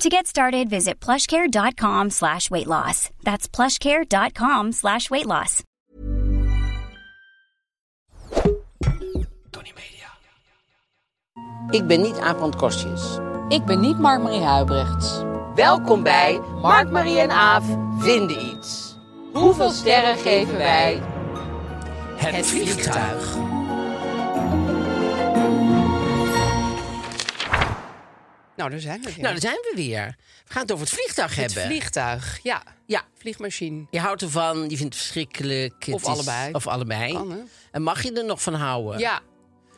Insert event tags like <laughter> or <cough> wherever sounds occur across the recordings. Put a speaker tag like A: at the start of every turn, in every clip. A: To get started, visit plushcare.com slash weight loss. That's plushcare.com slash weight loss.
B: Tony Media.
C: Ik ben niet Aap van Kostjes.
D: Ik ben niet Mark-Marie Huibrechts.
C: Welkom bij Mark, Marie en Aaf vinden iets. Hoeveel sterren geven wij?
B: Nou, Het vliegtuig.
C: Nou, daar zijn we weer.
B: Nou, daar zijn we weer. We gaan het over het vliegtuig
E: Het
B: hebben.
E: vliegtuig, ja.
B: Ja.
E: Vliegmachine.
B: Je houdt ervan, je vindt het verschrikkelijk. het
E: Of allebei.
B: Of allebei.
E: Kan, hè?
B: en mag je er nog van houden?
E: Ja.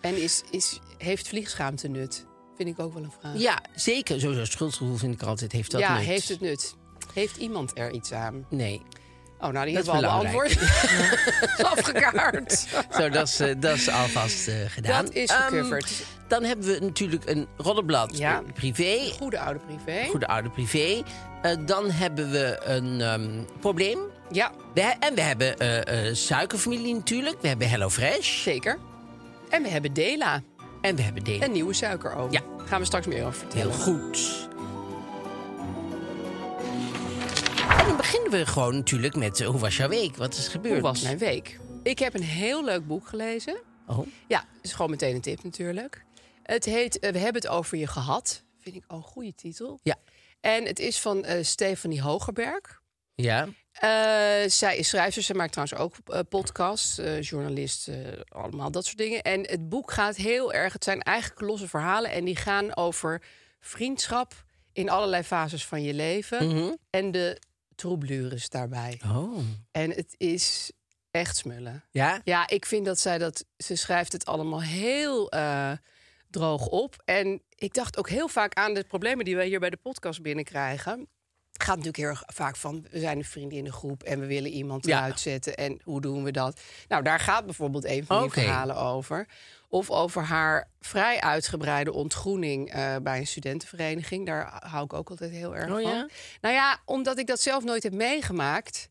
E: En is, is, heeft vliegschaamte nut? Vind ik ook wel een vraag.
B: Ja, zeker. Sowieso schuldgevoel vind ik altijd. Heeft dat
E: Ja,
B: nut?
E: heeft het nut? Heeft iemand er iets aan?
B: Nee.
E: Oh, nou, die
B: Dat
E: hebben we al
B: is
E: beantwoord.
B: <laughs>
E: is afgekaart.
B: Zo, dat is, eh, dat is alvast eh, gedaan.
E: Dat is
B: Ehm,
E: gecoverd.
B: dan hebben we natuurlijk een roddelblad
E: Ja.
B: eh, privé.
E: Goede oude privé.
B: Goede oude privé. Eh, dan hebben we een ehm, probleem.
E: Ja,
B: We he- en we hebben eh, eh, suikerfamilie natuurlijk. We hebben HelloFresh.
E: zeker. En we hebben Dela.
B: En we hebben Deen.
E: Een nieuwe suikeroom.
B: Ja.
E: Gaan we straks meer over vertellen.
B: Heel goed. En dan beginnen we gewoon natuurlijk met eh, hoe was jouw week? Wat is gebeurd?
E: Hoe was mijn week? Ik heb een heel leuk boek gelezen.
B: Oh,
E: Ja, is gewoon meteen een tip natuurlijk. Het heet eh, We hebben het over je gehad. Vind ik al een goede titel.
B: ja.
E: En het is van eh, Stefanie Hogerberg.
B: Ja.
E: Eh, zij is schrijfster, zij maakt trouwens ook eh, podcasts, eh, journalist, eh, allemaal dat soort dingen. En het boek gaat heel erg, het zijn eigenlijk losse verhalen... en die gaan over vriendschap in allerlei fases van je leven... en de troublures daarbij.
B: Oh.
E: En het is echt smullen.
B: Ja?
E: Ja, ik vind dat zij dat. Ze schrijft het allemaal heel eh, droog op. En ik dacht ook heel vaak aan de problemen die wij hier bij de podcast binnenkrijgen. Het gaat natuurlijk heel erg vaak van. We zijn een vriend in de groep en we willen iemand
B: Ja.
E: eruit zetten. En hoe doen we dat? Nou, daar gaat bijvoorbeeld een van die
B: Oké.
E: verhalen over. Of over haar vrij uitgebreide ontgroening eh, bij een studentenvereniging. Daar hou ik ook altijd heel erg
B: Oh
E: van.
B: ja?
E: Nou ja, omdat ik dat zelf nooit heb meegemaakt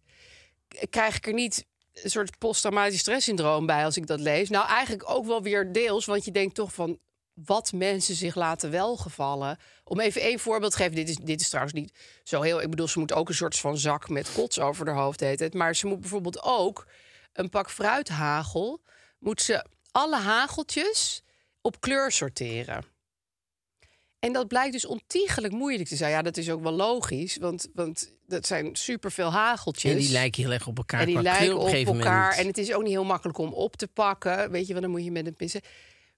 E: krijg ik er niet een soort posttraumatisch stresssyndroom bij als ik dat lees. Nou, eigenlijk ook wel weer deels, want je denkt toch van wat mensen zich laten welgevallen. Om even één voorbeeld te geven, dit is, dit is trouwens niet zo heel... Ik bedoel, ze moet ook een soort van zak met kots over haar hoofd heet het. Maar ze moet bijvoorbeeld ook een pak fruithagel... moet ze alle hageltjes op kleur sorteren. En dat blijkt dus ontiegelijk moeilijk te zijn. Ja, dat is ook wel logisch, want, want dat zijn superveel hageltjes.
B: En die lijken heel erg op elkaar.
E: En die
B: qua kleur
E: lijken
B: op,
E: op,
B: een gegeven
E: elkaar.
B: moment.
E: En het is ook niet heel makkelijk om op te pakken. Weet je, want dan moet je met een pissen.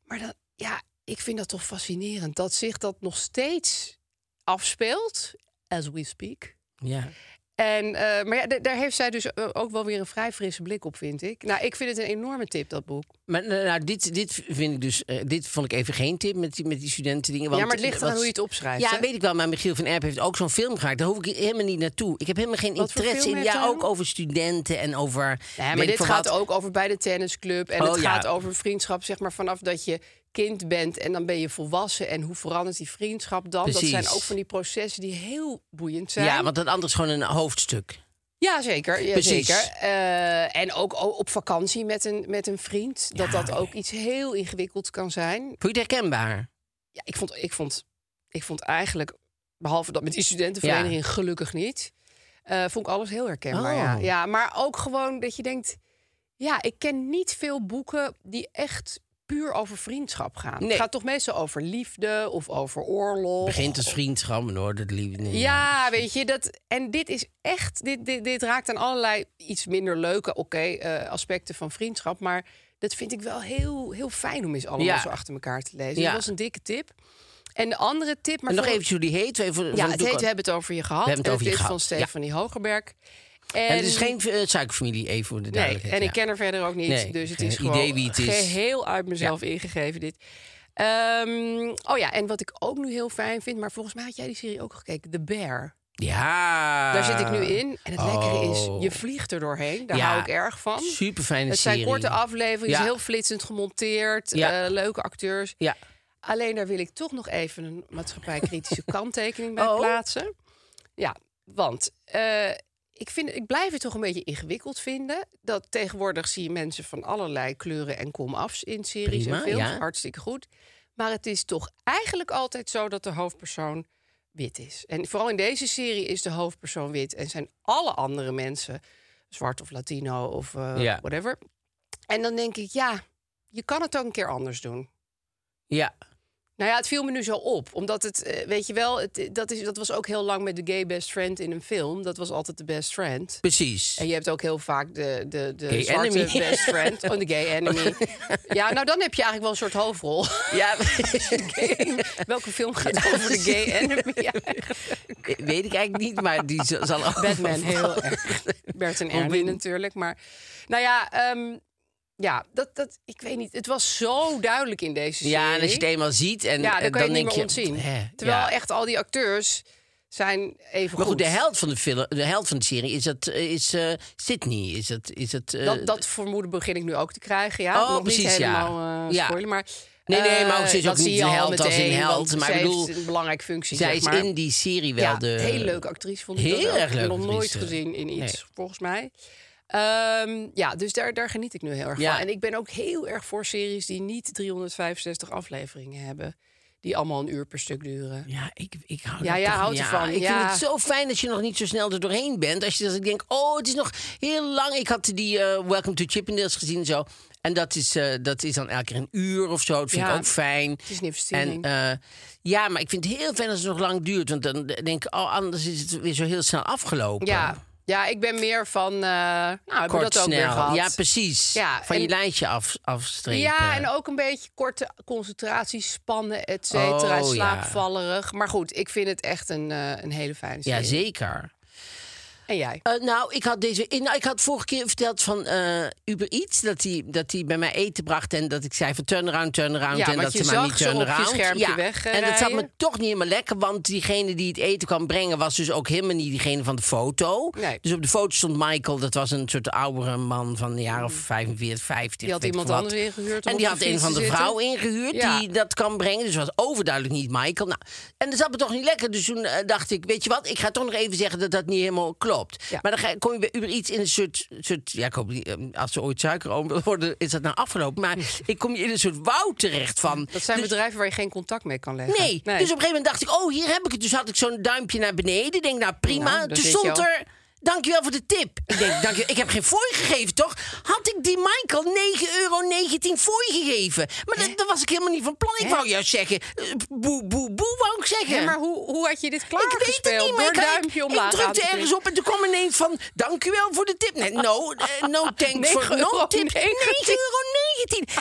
E: Maar dan, ja, ik vind dat toch fascinerend dat zich dat nog steeds afspeelt. As we speak.
B: Ja.
E: En, eh, maar ja, d- daar heeft zij dus eh, ook wel weer een vrij frisse blik op, vind ik. Nou, ik vind het een enorme tip, dat boek.
B: Maar nou, nou, dit, dit vind ik dus... eh, dit vond ik even geen tip met die, met die studentendingen. Want,
E: ja, maar het ligt eraan
B: wat-
E: hoe je het opschrijft.
B: Ja,
E: hè?
B: weet ik wel. Maar Michiel van Erp heeft ook zo'n film gemaakt. Daar hoef ik helemaal niet naartoe. Ik heb helemaal geen
E: Wat voor
B: interesse
E: film
B: in.
E: heeft
B: Ja,
E: hij
B: ook
E: dan?
B: over studenten en over...
E: Nee, maar
B: weet ik
E: dit
B: veel
E: gaat
B: wat.
E: ook over bij de tennisclub. En
B: Oh,
E: het
B: ja.
E: gaat over vriendschap, zeg maar, vanaf dat je kind bent en dan ben je volwassen. En hoe verandert die vriendschap dan?
B: Precies.
E: Dat zijn ook van die processen die heel boeiend zijn.
B: Ja, want dat anders gewoon een hoofdstuk.
E: Ja, zeker. Ja,
B: Precies.
E: zeker. Eh, en ook o- op vakantie met een, met een vriend. Dat dat ook iets heel ingewikkeld kan zijn.
B: Vond je het
E: Oh.
B: herkenbaar?
E: Ja, ik, vond, ik, vond, ik vond eigenlijk, behalve dat met die studentenvereniging, gelukkig niet. eh, vond ik alles heel herkenbaar.
B: Oh.
E: Ja. ja, maar ook gewoon dat je denkt... Ja, ik ken niet veel boeken die echt puur over vriendschap gaan.
B: Nee.
E: Het gaat toch meestal over liefde of over oorlog.
B: Begint als vriendschap, maar hoor, dat liep niet.
E: Ja, weet je, dat, en dit is echt, dit, dit, dit raakt aan allerlei iets minder leuke oké, eh, aspecten van vriendschap. Maar dat vind ik wel heel, heel fijn om eens allemaal
B: Ja.
E: zo achter elkaar te lezen.
B: Ja.
E: Dat was een dikke tip. En de andere tip, maar
B: en nog
E: voor-
B: even hoe die heet. Even,
E: ja, het heet, we hebben het over je gehad.
B: We hebben het
E: en
B: over je
E: is
B: gehad,
E: van
B: ja.
E: Stefanie Hogerberg. En,
B: En het is geen eh, suikerfamilie, even voor de
E: Nee,
B: duidelijkheid.
E: en
B: ja.
E: ik ken er verder ook niet.
B: Nee,
E: dus het
B: geen
E: is
B: idee
E: gewoon
B: wie het is.
E: geheel uit mezelf ingegeven dit. Ehm, oh ja, en wat ik ook nu heel fijn vind, maar volgens mij had jij die serie ook gekeken, The Bear.
B: Ja.
E: Daar zit ik nu in. En het lekkere
B: Ah. Oh.
E: is, je vliegt er doorheen. Daar
B: Ja,
E: hou ik erg van.
B: Super fijne
E: Het
B: serie.
E: zijn korte afleveringen,
B: Ja.
E: is heel flitsend gemonteerd,
B: Ja.
E: eh, leuke acteurs.
B: Ja.
E: Alleen daar wil ik toch nog even een
B: <laughs>
E: maatschappijkritische kanttekening bij
B: Oh.
E: plaatsen. Ja, want eh, ik, vind, ik blijf het toch een beetje ingewikkeld vinden. Dat tegenwoordig zie je mensen van allerlei kleuren en komafs in series
B: Prima,
E: en films.
B: ja.
E: Hartstikke goed. Maar het is toch eigenlijk altijd zo dat de hoofdpersoon wit is. En vooral in deze serie is de hoofdpersoon wit. En zijn alle andere mensen zwart of Latino of eh,
B: Ja.
E: whatever. En dan denk ik, ja, je kan het ook een keer anders doen.
B: Ja.
E: Nou ja, het viel me nu zo op. Omdat het, eh, weet je wel, het, dat, is, dat was ook heel lang met de gay best friend in een film. Dat was altijd de best friend.
B: Precies.
E: En je hebt ook heel vaak de, de, de
B: Gay
E: zwarte
B: enemy.
E: best
B: <laughs>
E: friend. Oh, de gay enemy. ja, nou dan heb je eigenlijk wel een soort
B: <laughs>
E: hoofdrol.
B: Ja,
E: Welke film gaat over de gay enemy?
B: <laughs>
E: Ja,
B: weet ik eigenlijk niet, maar die z-
E: <laughs>
B: zal ook...
E: Batman, heel erg. <laughs> Bert en Ernie
B: Robin.
E: natuurlijk. Maar nou ja, ehm, ja dat, dat, ik weet niet. Het was zo duidelijk in deze serie.
B: Ja, en als je het eenmaal ziet, en,
E: Ja,
B: en
E: dan kan je het niet
B: denk
E: meer ontzien.
B: hè,
E: Terwijl
B: ja.
E: echt al die acteurs zijn even
B: Maar goed, de held van de, film, de, held van de serie is, dat, eh, is eh, Sydney. Is dat, is dat, eh,
E: Dat, dat vermoeden begin ik nu ook te krijgen, ja.
B: Oh,
E: Nog
B: precies,
E: niet
B: ja.
E: helemaal eh,
B: Ja.
E: spoilen, maar...
B: Nee, nee, maar
E: eh,
B: ze is
E: dat
B: ook
E: zie
B: niet
E: je
B: een
E: al
B: held als een
E: meteen,
B: held,
E: want
B: maar
E: zij
B: ik bedoel,
E: heeft een belangrijke functie,
B: Zij
E: zeg
B: is
E: maar.
B: in die serie wel
E: ja,
B: de...
E: hele leuke actrice, vond ik dat
B: Heel
E: ook.
B: erg
E: Ik heb
B: leuke
E: nog nooit
B: actrice.
E: gezien in iets,
B: Nee.
E: volgens mij. Ehm, ja, dus daar, daar geniet ik nu heel erg
B: Ja.
E: van. En ik ben ook heel erg voor series die niet 365 afleveringen hebben. Die allemaal een uur per stuk duren.
B: Ja, ik, ik hou
E: Ja,
B: daar
E: jij
B: toch-
E: houdt ervan,
B: Ik
E: ja.
B: vind het zo fijn dat je nog niet zo snel er doorheen bent. Als je dat ik denk, oh, het is nog heel lang. Ik had die eh, Welcome to Chippendales gezien en zo. En dat is, eh, dat is dan elke keer een uur of zo. Dat vind
E: Ja,
B: ik ook fijn. Het
E: is een investering.
B: En, eh, ja, maar ik vind het heel fijn als het nog lang duurt. Want dan denk ik, oh, anders is het weer zo heel snel afgelopen.
E: Ja, ja ik ben meer van... eh, nou, hebben we
B: Kort,
E: dat ook
B: snel.
E: weer gehad.
B: Ja, precies.
E: Ja,
B: Van
E: en-
B: je lijntje af, afstrepen.
E: Ja, en ook een beetje korte concentratiespannen, et cetera.
B: Oh, ja.
E: slaapvallerig. Maar goed, ik vind het echt een, eh, een hele fijne serie.
B: Ja, zeker.
E: En jij?
B: Eh, nou, ik had deze. Nou, ik had vorige keer verteld van eh, Uber Eats dat hij dat die bij mij eten bracht en dat ik zei van turnaround, turnaround
E: Ja,
B: en
E: want
B: dat
E: je
B: ze maar
E: zag
B: niet
E: ze op je
B: turnaround.
E: schermpje eh,
B: ja.
E: wegrijden.
B: En dat zat me toch niet helemaal lekker, want diegene die het eten kwam brengen was dus ook helemaal niet diegene van de foto.
E: Nee.
B: Dus op de foto stond Michael, dat was een soort oudere man van de jaren 45, 50.
E: Mm. Die had
B: weet ik
E: iemand
B: wat.
E: anders ingehuurd om
B: En die
E: op
B: had
E: de
B: een
E: fiets
B: van
E: te
B: de
E: zitten.
B: vrouwen ingehuurd
E: Ja.
B: die dat kan brengen. Dus het was overduidelijk niet Michael. Nou, en dat zat me toch niet lekker. Dus toen eh, dacht ik, weet je wat, ik ga toch nog even zeggen dat dat niet helemaal klopt.
E: Ja.
B: Maar dan ga- kom je bij Uber iets in een soort, soort ja, ik hoop niet, eh, als ze ooit suikeroom willen worden, is dat nou afgelopen. Maar ik kom je in een soort woud terecht van.
E: Hm. Dat zijn
B: dus-
E: bedrijven waar je geen contact mee kan leggen.
B: Nee. dus op een gegeven moment dacht ik, oh, hier heb ik het. Dus had ik zo'n duimpje naar beneden. Ik Denk, nou prima.
E: Nou, dat
B: Toen
E: weet je
B: stond
E: al.
B: er, dankjewel voor de tip. Ik denk, dankjewel. Ik heb geen fooi gegeven, toch? Had ik die Michael 9,19 euro fooi gegeven? Maar dat, dat was ik helemaal niet van plan. Ik wou juist zeggen, eh, boe, boe, boe, wou ik zeggen.
E: Ja, maar hoe, hoe had je dit
B: ik weet
E: klaargespeeld?
B: het niet, maar
E: Door
B: ik, had-
E: duimpje
B: ik
E: omlaag aan te
B: drukte
E: klikken.
B: ergens op en toen kwam ineens van... dankjewel voor de tip. Nee, no, eh,
E: <laughs>
B: no thanks
E: €9,19.
B: for no tip. 9,19 euro.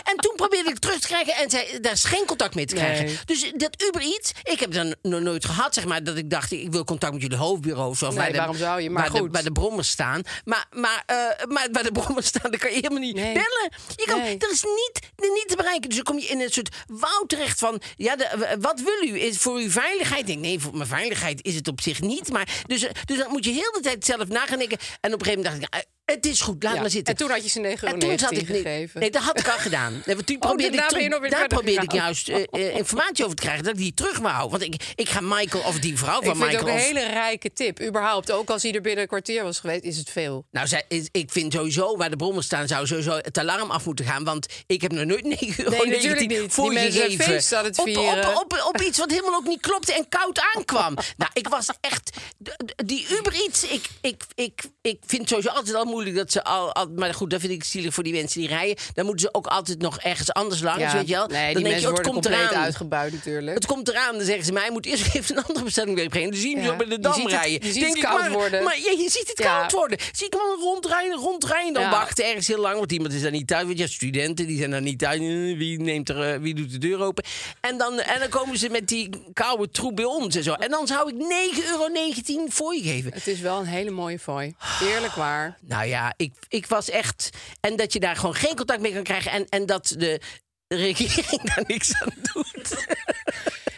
B: En toen probeerde ik terug te krijgen en zij, daar is geen contact mee te krijgen.
E: Nee.
B: Dus dat Uber Eats, ik heb dan nog nooit gehad, zeg maar... dat ik dacht, ik wil contact met jullie hoofdbureau. of Zo, of
E: Nee,
B: bij de-
E: waarom zou je? Maar
B: bij de-
E: goed.
B: bij de brommers staan. Maar, maar, eh, maar bij de brommers staan, dan kan je helemaal niet
E: Nee.
B: bellen. <laughs> Je kan,
E: Nee.
B: Er is niet, niet te bereiken. Dus dan kom je in een soort woud terecht van... Ja, de- wat wil u? Is voor uw veiligheid? Ik denk, nee, voor mijn veiligheid is het op zich niet. Maar, dus, eh, dus dan moet je heel de tijd zelf nagaan denken. En op een gegeven moment dacht ik... eh, Het is goed, laat
E: Ja,
B: maar zitten.
E: en toen had je ze 9,19
B: En toen zat ik niet-
E: gegeven. Oh,
B: Nee, dat had ik al gedaan. Nee, want toen probeerde
E: daarna
B: ik,
E: ben je
B: terug-
E: nog weer
B: daar
E: verder
B: probeerde ik
E: gegaan.
B: juist eh, eh, informatie over te krijgen. Dat ik die terug wou houden. Want ik, ik ga Michael of die vrouw
E: Ik
B: van
E: vind het
B: Michael...
E: ook een
B: of-
E: hele rijke tip. Überhaupt, ook als hij er binnen een kwartier was geweest, is het veel.
B: Nou, zij, is- ik vind sowieso waar de brommers staan, zou sowieso het alarm af moeten gaan. Want ik heb nog nooit 9 euro
E: natuurlijk niet. Die
B: voor
E: mensen zijn
B: gegeven.
E: feest aan het
B: Op-
E: vieren.
B: Op, op, op, iets wat helemaal ook niet klopte en koud
E: <laughs>
B: aankwam. nou, ik was echt. d- d- Die Uber iets, ik, ik, ik, ik vind sowieso altijd al moe- moeilijk dat ze al, al- Maar goed, dat vind ik zielig voor die mensen die rijden. Dan moeten ze ook altijd nog ergens anders langs, weet je wel.
E: Nee, die
B: dan denk je,
E: mensen
B: oh, het
E: worden
B: komt
E: compleet
B: eraan.
E: uitgebuit natuurlijk.
B: Het komt eraan, dan zeggen ze mij, moet eerst <laughs> even een andere bestelling wegbrengen. Dan zien we
E: Ja.
B: je Dus op in de
E: Je
B: dam
E: ziet het-
B: rijden.
E: je ziet
B: Denk
E: het
B: ik,
E: koud
B: maar-
E: worden.
B: Maar ja, je ziet het
E: Ja.
B: koud worden. Zie ik hem al rondrijden, rondrijden. Dan
E: Ja.
B: wachten ergens heel lang, want iemand is daar niet thuis. Want ja, studenten, die zijn daar niet thuis. Eh, Wie, neemt er, eh, wie doet de deur open? En dan, en dan komen ze met die koude troep bij ons en zo. En dan zou ik 9,19 euro voor je geven.
E: Het is wel een hele mooie fooi. Eerlijk waar.
B: Nou ja, ik, ik was echt... En dat je daar gewoon geen contact mee kan krijgen. En, en dat de regering <laughs> daar niks aan doet.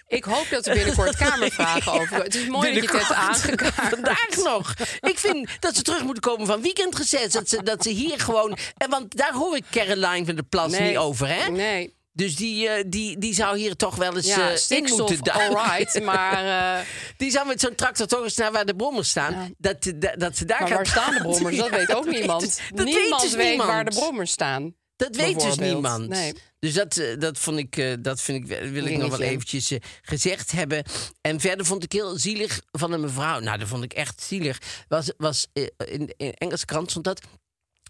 E: Ik hoop dat er binnenkort
B: <laughs>
E: kamervragen over. Het is mooi dat je het hebt
B: Binnenkort. <laughs>
E: aangekaart.
B: Vandaag nog. Ik vind dat ze terug moeten komen van weekendgezet. Dat ze, dat ze hier gewoon... En want daar hoor ik Caroline van der Plas niet over, hè?
E: Nee.
B: Dus die, eh, die, die zou hier toch wel eens
E: Ja,
B: eh, in
E: stikstof,
B: moeten duiken. <laughs>
E: alright. Maar, eh,
B: Die zou met zo'n tractor toch eens naar waar de brommers staan. Dat, dat, dat ze daar
E: maar
B: gaat
E: waar staan de
B: praten.
E: brommers? Dat
B: Ja,
E: weet ook
B: <laughs> dat
E: niemand.
B: weet- dat
E: niemand
B: weet, dus
E: weet
B: niemand.
E: waar de brommers staan.
B: Dat weet dus
E: bijvoorbeeld.
B: niemand.
E: Nee.
B: Dus dat, eh, dat, vond ik, eh, dat vind ik, wel- wil ik nog wel
E: Dingetje.
B: eventjes eh, gezegd hebben. En verder vond ik heel zielig van een mevrouw. Nou, dat vond ik echt zielig. Was, was, eh, in, in Engelse krant stond dat.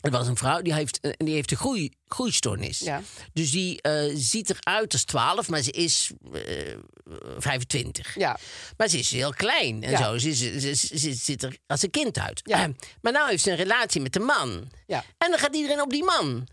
B: Er was een vrouw die heeft, eh, en die heeft een groei, groeistoornis.
E: Ja.
B: Dus die eh, ziet eruit als 12, maar ze is eh, 25.
E: Ja.
B: Maar ze is heel klein en
E: Ja.
B: zo. Ze, is- ze, ze- ze ziet er als een kind uit.
E: Ja.
B: Eh, maar nou heeft ze een relatie met een man.
E: Ja.
B: En dan gaat iedereen op die man.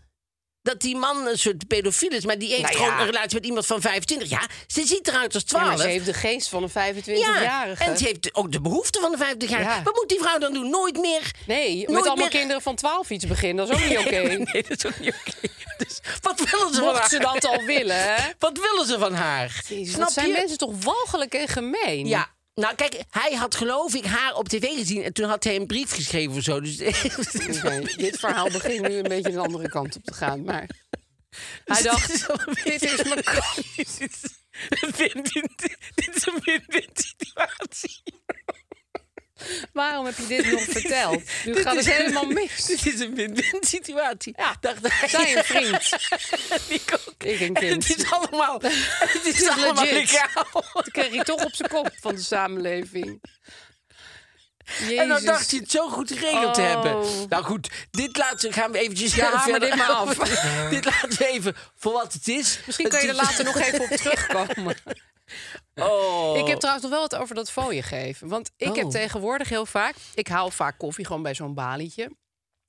B: Dat die man een soort pedofiel is, maar die heeft
E: Nou ja.
B: gewoon een relatie met iemand van 25. Ja, ze ziet eruit als
E: Ja,
B: 12.
E: maar ze heeft de geest van een 25-jarige.
B: en ze heeft ook de behoefte van de 50-jarige.
E: Ja.
B: Wat moet die vrouw dan doen? Nooit meer.
E: Nee, met
B: nooit
E: allemaal
B: meer-
E: kinderen van 12 iets beginnen, dat is ook
B: <laughs>
E: niet oké.
B: Nee, dat is ook niet oké. Dus wat willen ze van haar?
E: Mocht ze dat al willen, hè?
B: Wat willen ze van haar?
E: Jezus,
B: Snap
E: dat zijn
B: je?
E: mensen toch walgelijk en gemeen?
B: Ja. Nou, kijk, hij had geloof ik haar op tv gezien en toen had hij een brief geschreven of zo. Dus
E: Oké, dit verhaal begint nu een beetje de andere kant op te gaan. Maar hij <laughs> dacht,
B: <laughs>
E: dit is mijn kans.
B: <laughs> Dit is een win-win situatie.
E: Waarom heb je dit nog verteld?
B: <laughs>
E: Nu
B: Dit
E: gaat
B: is
E: het helemaal mis.
B: <laughs> Dit is een win-win situatie.
E: Ja,
B: dacht hij.
E: Zij een vriend.
B: <laughs> En ik ook.
E: Ik een
B: En <laughs>
E: kind.
B: het is allemaal,
E: <laughs>
B: het is
E: is
B: allemaal
E: legit.
B: legaal.
E: Dat kreeg hij toch op zijn kop van de samenleving. Jezus.
B: En dan dacht je het zo goed geregeld te
E: Oh.
B: hebben. Nou goed, dit laten we, gaan we eventjes
E: Ja, haal me
B: verder
E: dit maar af.
B: over. <laughs> dit laten we even voor wat het is.
E: Misschien kan je er
B: Het is-
E: later nog even op
B: <laughs>
E: terugkomen.
B: Oh.
E: Ik heb trouwens nog wel wat over dat fooien geven. Want ik heb
B: Oh.
E: tegenwoordig heel vaak... Ik haal vaak koffie gewoon bij zo'n balietje.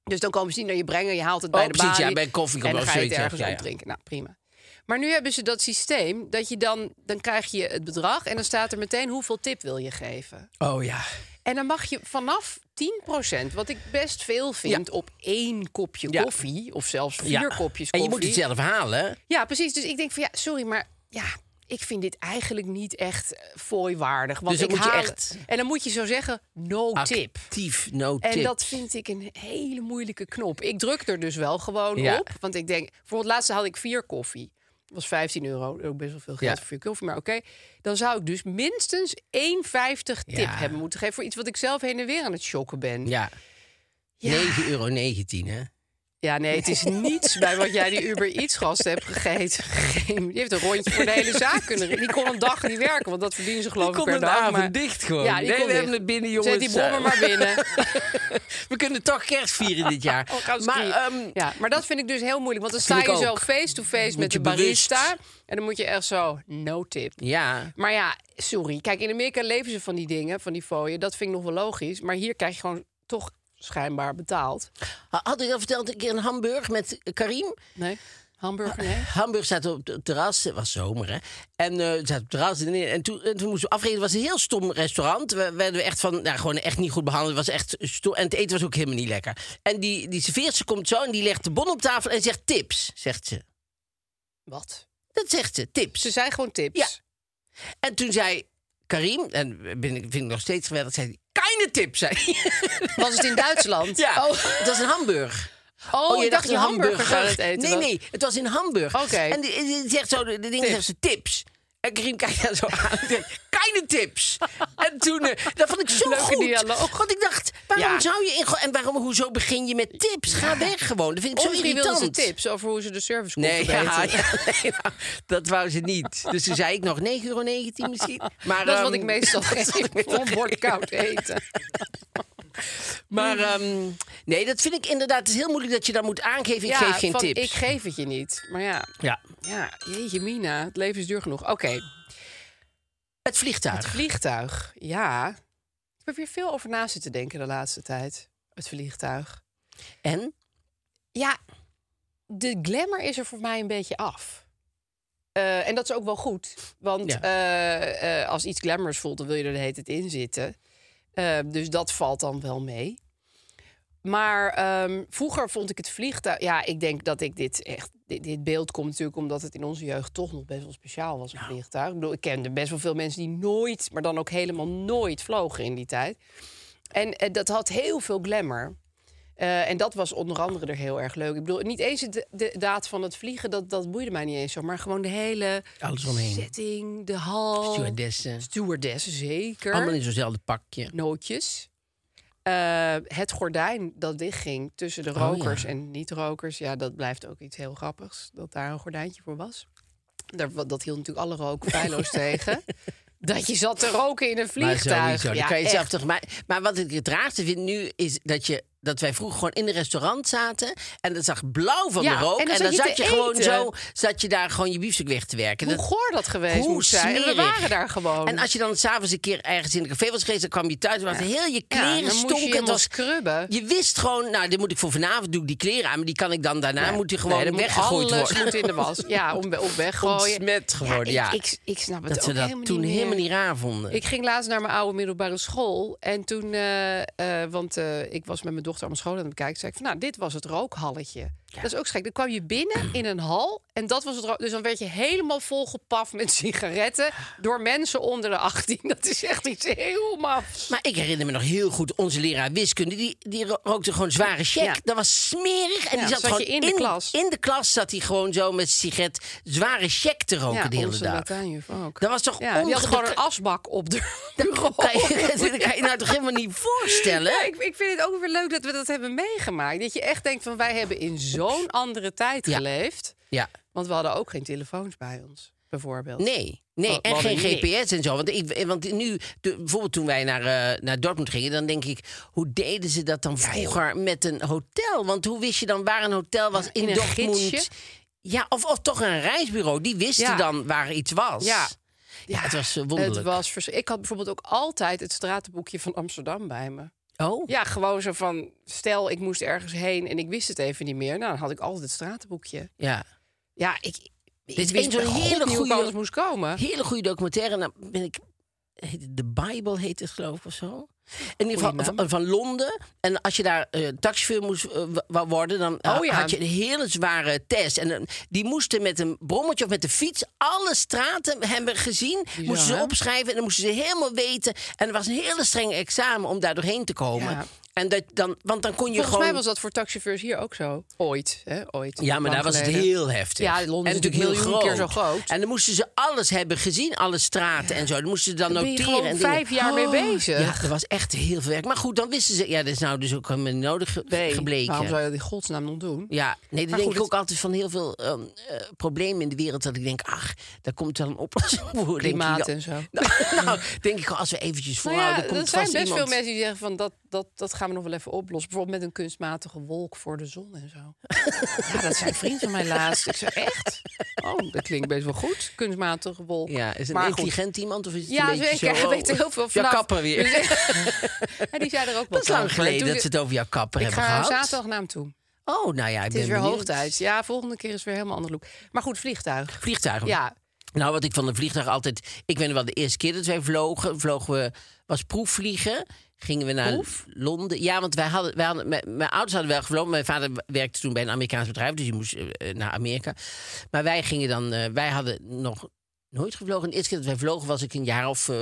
E: Dus dan komen ze niet naar je brengen. Je haalt het bij de
B: Oh, precies,
E: balie.
B: ja, bij koffie
E: En
B: kan
E: dan
B: wel
E: ga je het
B: zoiets, ja,
E: ergens
B: ja, ja.
E: op drinken. Nou, prima. Maar nu hebben ze dat systeem dat je dan... Dan krijg je het bedrag en dan staat er meteen hoeveel tip wil je geven.
B: Oh ja.
E: En dan mag je vanaf 10%, wat ik best veel vind, op één kopje
B: Ja.
E: koffie. Of zelfs vier
B: ja.
E: kopjes
B: En
E: koffie.
B: je moet het zelf halen. hè?
E: Ja, precies. Dus ik denk van ja, sorry, maar ja, ik vind dit eigenlijk niet echt eh, fooiwaardig. Want
B: Dus dan
E: ik
B: moet je
E: haal-
B: echt-
E: En dan moet je zo zeggen, no tip.
B: Actief, no
E: En
B: tip.
E: dat vind ik een hele moeilijke knop. Ik druk er dus wel gewoon
B: Ja.
E: op. Want ik denk, bijvoorbeeld laatst had ik vier koffie. Dat was 15 euro, ook best wel veel geld
B: Ja.
E: voor vier koffie. Maar oké, dan zou ik dus minstens 1,50 tip
B: Ja.
E: hebben moeten geven... voor iets wat ik zelf heen en weer aan het shocken ben.
B: Ja.
E: Ja.
B: 9,19 euro, hè?
E: Ja, nee, het is niets bij wat jij die Uber Eats gast hebt gegeten. Geen, die heeft een rondje voor de hele zaak kunnen. Die kon een dag niet werken, want dat verdienen ze geloof ik
B: Kom
E: per
B: een
E: dag.
B: avond
E: maar-
B: dicht gewoon.
E: Ja, die
B: nee, we
E: kon dicht.
B: hebben het binnen, jongens.
E: Zet die brommer maar
B: <laughs>
E: binnen.
B: We kunnen toch kerst vieren dit jaar.
E: <laughs> Oh, gaan ze
B: maar
E: skiën.
B: ehm,
E: ja, maar dat vind ik dus heel moeilijk. Want dan
B: Vind
E: sta
B: ik
E: je zo
B: ook.
E: face-to-face met
B: je
E: de barista.
B: bewust.
E: En dan moet je echt zo, no tip.
B: ja.
E: Maar ja, sorry. Kijk, in Amerika leven ze van die dingen, van die fooien. Dat vind ik nog wel logisch. Maar hier krijg je gewoon toch schijnbaar betaald.
B: Had ik al verteld, een keer in Hamburg met Karim.
E: Nee? Hamburger, nee?
B: Hamburg zat op het terras, het was zomer hè. En eh zat op het terras en, en, toen, en toen moesten we afrekenen. Het was een heel stom restaurant. We werden we echt van, nou gewoon echt niet goed behandeld. Het was echt stom. En het eten was ook helemaal niet lekker. En die, die serveerster komt zo en die legt de bon op tafel en zegt tips, zegt ze.
E: Wat?
B: Dat zegt ze, tips.
E: Ze zijn gewoon tips.
B: Ja. En toen zei Karim, en eh, ben ik, vind ik nog steeds geweldig, zei hij, keine tips, zei hij. <laughs>
E: Was het in Duitsland?
B: Ja,
E: Oh.
B: het was in Hamburg.
E: Oh, je dacht je
B: een eh,
E: hamburger aan het eten
B: Nee,
E: was.
B: nee, het was in Hamburg.
E: Oké.
B: En die, die zegt zo, de, de ding
E: Tips.
B: zegt ze tips. En Karim kijkt daar zo aan en zegt, keine tips. En toen, eh, dat vond ik zo
E: Leuke
B: goed.
E: dialoog.
B: Want ik dacht, waarom
E: Ja.
B: zou je in... go- En waarom, hoezo begin je met tips? Ga weg gewoon. Dat vind ik zo
E: Omri wilde
B: irritant.
E: ze tips over hoe ze de service kon
B: Nee, ja,
E: verbeteren.
B: ja, nee, nou, dat wou ze niet. Dus toen zei ik nog 9,19 euro misschien. Maar,
E: Dat is wat
B: ehm,
E: ik
B: <laughs>
E: meestal <laughs>
B: dat is wat <laughs>
E: geef
B: ik meestal
E: voor een bord koud eten.
B: Maar ehm, nee, dat vind ik inderdaad. Het is heel moeilijk dat je dan moet aangeven. Ik
E: ja,
B: geef geen
E: van,
B: tips.
E: Ik geef het je niet. Maar ja,
B: Ja.
E: ja jeetje mina, het leven is duur genoeg. Oké,
B: Het vliegtuig.
E: het vliegtuig. Ja, ik heb hier veel over na zitten denken de laatste tijd. Het vliegtuig.
B: En?
E: Ja, de glamour is er voor mij een beetje af. Eh, en dat is ook wel goed. Want
B: Ja.
E: eh, eh, als iets glamours voelt, dan wil je er de hele tijd in zitten. Eh, dus dat valt dan wel mee. Maar ehm, vroeger vond ik het vliegtuig... Ja, ik denk dat ik dit echt... Dit, dit beeld komt natuurlijk omdat het in onze jeugd toch nog best wel speciaal was, een vliegtuig. Ik bedoel, ik kende best wel veel mensen die nooit, maar dan ook helemaal nooit vlogen in die tijd. En eh, dat had heel veel glamour. Eh, en dat was onder andere er heel erg leuk. Ik bedoel, niet eens de, de daad van het vliegen, dat, dat boeide mij niet eens zo. Maar gewoon de hele
B: Alles omheen.
E: setting, de hal.
B: Stewardessen.
E: Stewardessen, zeker.
B: Allemaal in zo'nzelfde pakje.
E: Nootjes. Eh, het gordijn dat dichtging tussen
B: Oh,
E: de rokers en niet-rokers. Ja, dat blijft ook iets heel grappigs. Dat daar een gordijntje voor was. Daar, wa- dat hield natuurlijk alle rook
B: <laughs>
E: feilloos tegen. Dat je zat te roken in een
B: Maar
E: vliegtuig.
B: sowieso, dat
E: ja,
B: kan je
E: echt.
B: zelf toch, maar, maar wat ik het raarste vind nu is dat je dat wij vroeger gewoon in een restaurant zaten en dat zag blauw van
E: Ja,
B: de rook
E: en dan zat je
B: zat
E: te
B: je gewoon
E: eten.
B: zo zat je daar gewoon je biefstuk weg te werken.
E: Hoe
B: Dat-
E: goor dat geweest
B: Hoe
E: moet zijn. En we
B: smerig.
E: waren daar gewoon.
B: En als je dan s'avonds een keer ergens in een café was geweest, dan kwam je thuis en was heel je
E: Ja,
B: kleren
E: dan moest je
B: stonken. Het
E: helemaal
B: was
E: scrubben.
B: Je wist gewoon, nou, dit moet ik voor vanavond doe ik die kleren aan, maar die kan ik dan daarna moet die gewoon
E: Nee, dan moet
B: weggegooid
E: alles
B: worden.
E: moet in de was. Ja, om, om weggooien.
B: <laughs> Ontsmet geworden, ja.
E: Ik, ik, ik snap het
B: dat
E: ook
B: ze dat
E: helemaal
B: toen
E: niet meer.
B: helemaal niet raar vonden.
E: Ik ging laatst naar mijn oude middelbare school. En toen, eh, eh, want eh, ik was met mijn dochter aan mijn school aan het bekijken. Zei ik van, nou, dit was het rookhalletje. Dat is ook schrik. Dan kwam je binnen in een hal. En dat was het rook. Dus dan werd je helemaal volgepaft met sigaretten. Door mensen onder de 18. Dat is echt iets heel mafs.
B: Maar ik herinner me nog heel goed onze leraar wiskunde. Die, die ro- rookte gewoon zware check.
E: Oh, Ja.
B: Dat was smerig. En
E: Ja,
B: die zat,
E: zat je
B: gewoon
E: in de klas.
B: In de klas zat hij gewoon zo met zijn sigaret zware check te roken de hele
E: onze
B: dag.
E: Latijnjuf ook.
B: Dat was toch
E: ja, die had gewoon een
B: ongelooflijk.
E: asbak op de
B: <laughs>
E: <laughs>
B: Dat kan je, dat kan je nou toch helemaal niet voorstellen?
E: Ja, ik, ik vind het ook weer leuk dat we dat hebben meegemaakt. Dat je echt denkt van wij hebben in zo'n andere tijd
B: Ja.
E: geleefd.
B: Ja.
E: Want we hadden ook geen telefoons bij ons, bijvoorbeeld.
B: Nee, nee.
E: Wa-
B: en
E: wat
B: geen
E: een niks.
B: GPS en zo. Want, ik, eh, want nu, de- bijvoorbeeld toen wij naar, eh, naar Dortmund gingen, dan denk ik, hoe deden ze dat dan vroeger met een hotel? Want hoe wist je dan waar een hotel was in,
E: in een
B: Dortmund?
E: gidsje?
B: Ja, of, of toch een reisbureau. Die wisten
E: Ja.
B: dan waar iets was.
E: Ja.
B: Ja, het was eh, wonderlijk.
E: Het was vers- ik had bijvoorbeeld ook altijd het stratenboekje van Amsterdam bij me.
B: Oh,
E: Ja, gewoon zo van, stel ik moest ergens heen en ik wist het even niet meer. Nou, dan had ik altijd het stratenboekje.
B: ja.
E: Ja, ik, ik
B: is
E: wist
B: één zo'n
E: bij God
B: hele
E: niet hoe ik
B: goeie-
E: anders moest komen.
B: Hele goede documentaire. Nou ben ik... heet het De Bijbel heet het geloof ik of zo. In ieder
E: Goeie
B: geval van,
E: naam.
B: van Londen. En als je daar eh taxichauffeur moest eh, wa- wa- worden... dan eh,
E: Oh ja.
B: had je een hele zware test. En eh, die moesten met een brommetje of met de fiets... alle straten hebben gezien. moesten ze
E: hè?
B: opschrijven en dan moesten ze helemaal weten. En er was een hele streng examen om daar doorheen te komen.
E: Ja.
B: En dat dan, want dan kon je
E: Volgens
B: gewoon...
E: mij was dat voor taxichauffeurs hier ook zo. Ooit, hè? Ooit.
B: Ja, maar
E: Lang
B: daar was het
E: geleden.
B: heel heftig.
E: Ja, Londen
B: en
E: is natuurlijk miljoen keer zo groot.
B: En dan moesten ze alles hebben gezien, alle straten en zo. Dan moesten ze dan,
E: Dan ben je
B: noteren.
E: gewoon
B: en dingen. Oh,
E: vijf jaar mee bezig.
B: Ja, dat was echt heel veel werk. Maar goed, dan wisten ze... Ja, dat is nou dus ook helemaal niet nodig ge-
E: Nee, Waarom
B: gebleken.
E: zou je dat in godsnaam nog doen?
B: Ja, nee, dat
E: Maar
B: denk
E: goed,
B: ik ook
E: het-
B: altijd van heel veel ehm, eh, problemen in de wereld. Dat ik denk, ach, daar komt wel een oplossing voor. denk ik
E: Klimaat
B: dan.
E: en zo.
B: <laughs> Nou, nou, denk ik, als we eventjes
E: Nou ja,
B: volhouden, komt
E: er
B: vast
E: zijn best
B: iemand.
E: veel mensen die zeggen van dat, dat, dat gaan we nog wel even oplossen. Bijvoorbeeld met een kunstmatige wolk voor de zon en zo. <laughs> ja, dat zijn vrienden van mij laatst. Ik zei echt? Oh, dat klinkt best wel goed. Kunstmatige wolk.
B: Ja, is het een
E: Maar goed.
B: intelligent iemand of is het
E: Ja,
B: een beetje
E: zeker.
B: zo...
E: Hij
B: oh,
E: weet er heel veel
B: Ja,
E: vanaf.
B: kapper weer.
E: <laughs> Dus- en die zei er ook wat
B: Dat is lang
E: over.
B: geleden
E: Toen
B: dat
E: de-
B: ze het over jouw kapper
E: Ik
B: hebben
E: ga
B: gehad.
E: zaterdag naar hem toe.
B: Oh, nou ja, ik
E: Het
B: ben
E: is weer
B: benieuwd.
E: hoog tijd. Ja, volgende keer is weer helemaal ander look. Maar goed, vliegtuig.
B: Vliegtuigen.
E: Ja,
B: Nou, wat ik van een vliegtuig altijd... Ik weet nog wel, de eerste keer dat wij vlogen, vlogen we, was proefvliegen. Gingen we naar
E: Proef?
B: Londen. Ja, want wij hadden, wij hadden, mijn, mijn ouders hadden wel gevlogen. Mijn vader werkte toen bij een Amerikaans bedrijf, dus die moest eh, eh, naar Amerika. Maar wij gingen dan, eh, wij hadden nog nooit gevlogen. De eerste keer dat wij vlogen was ik een jaar of eh,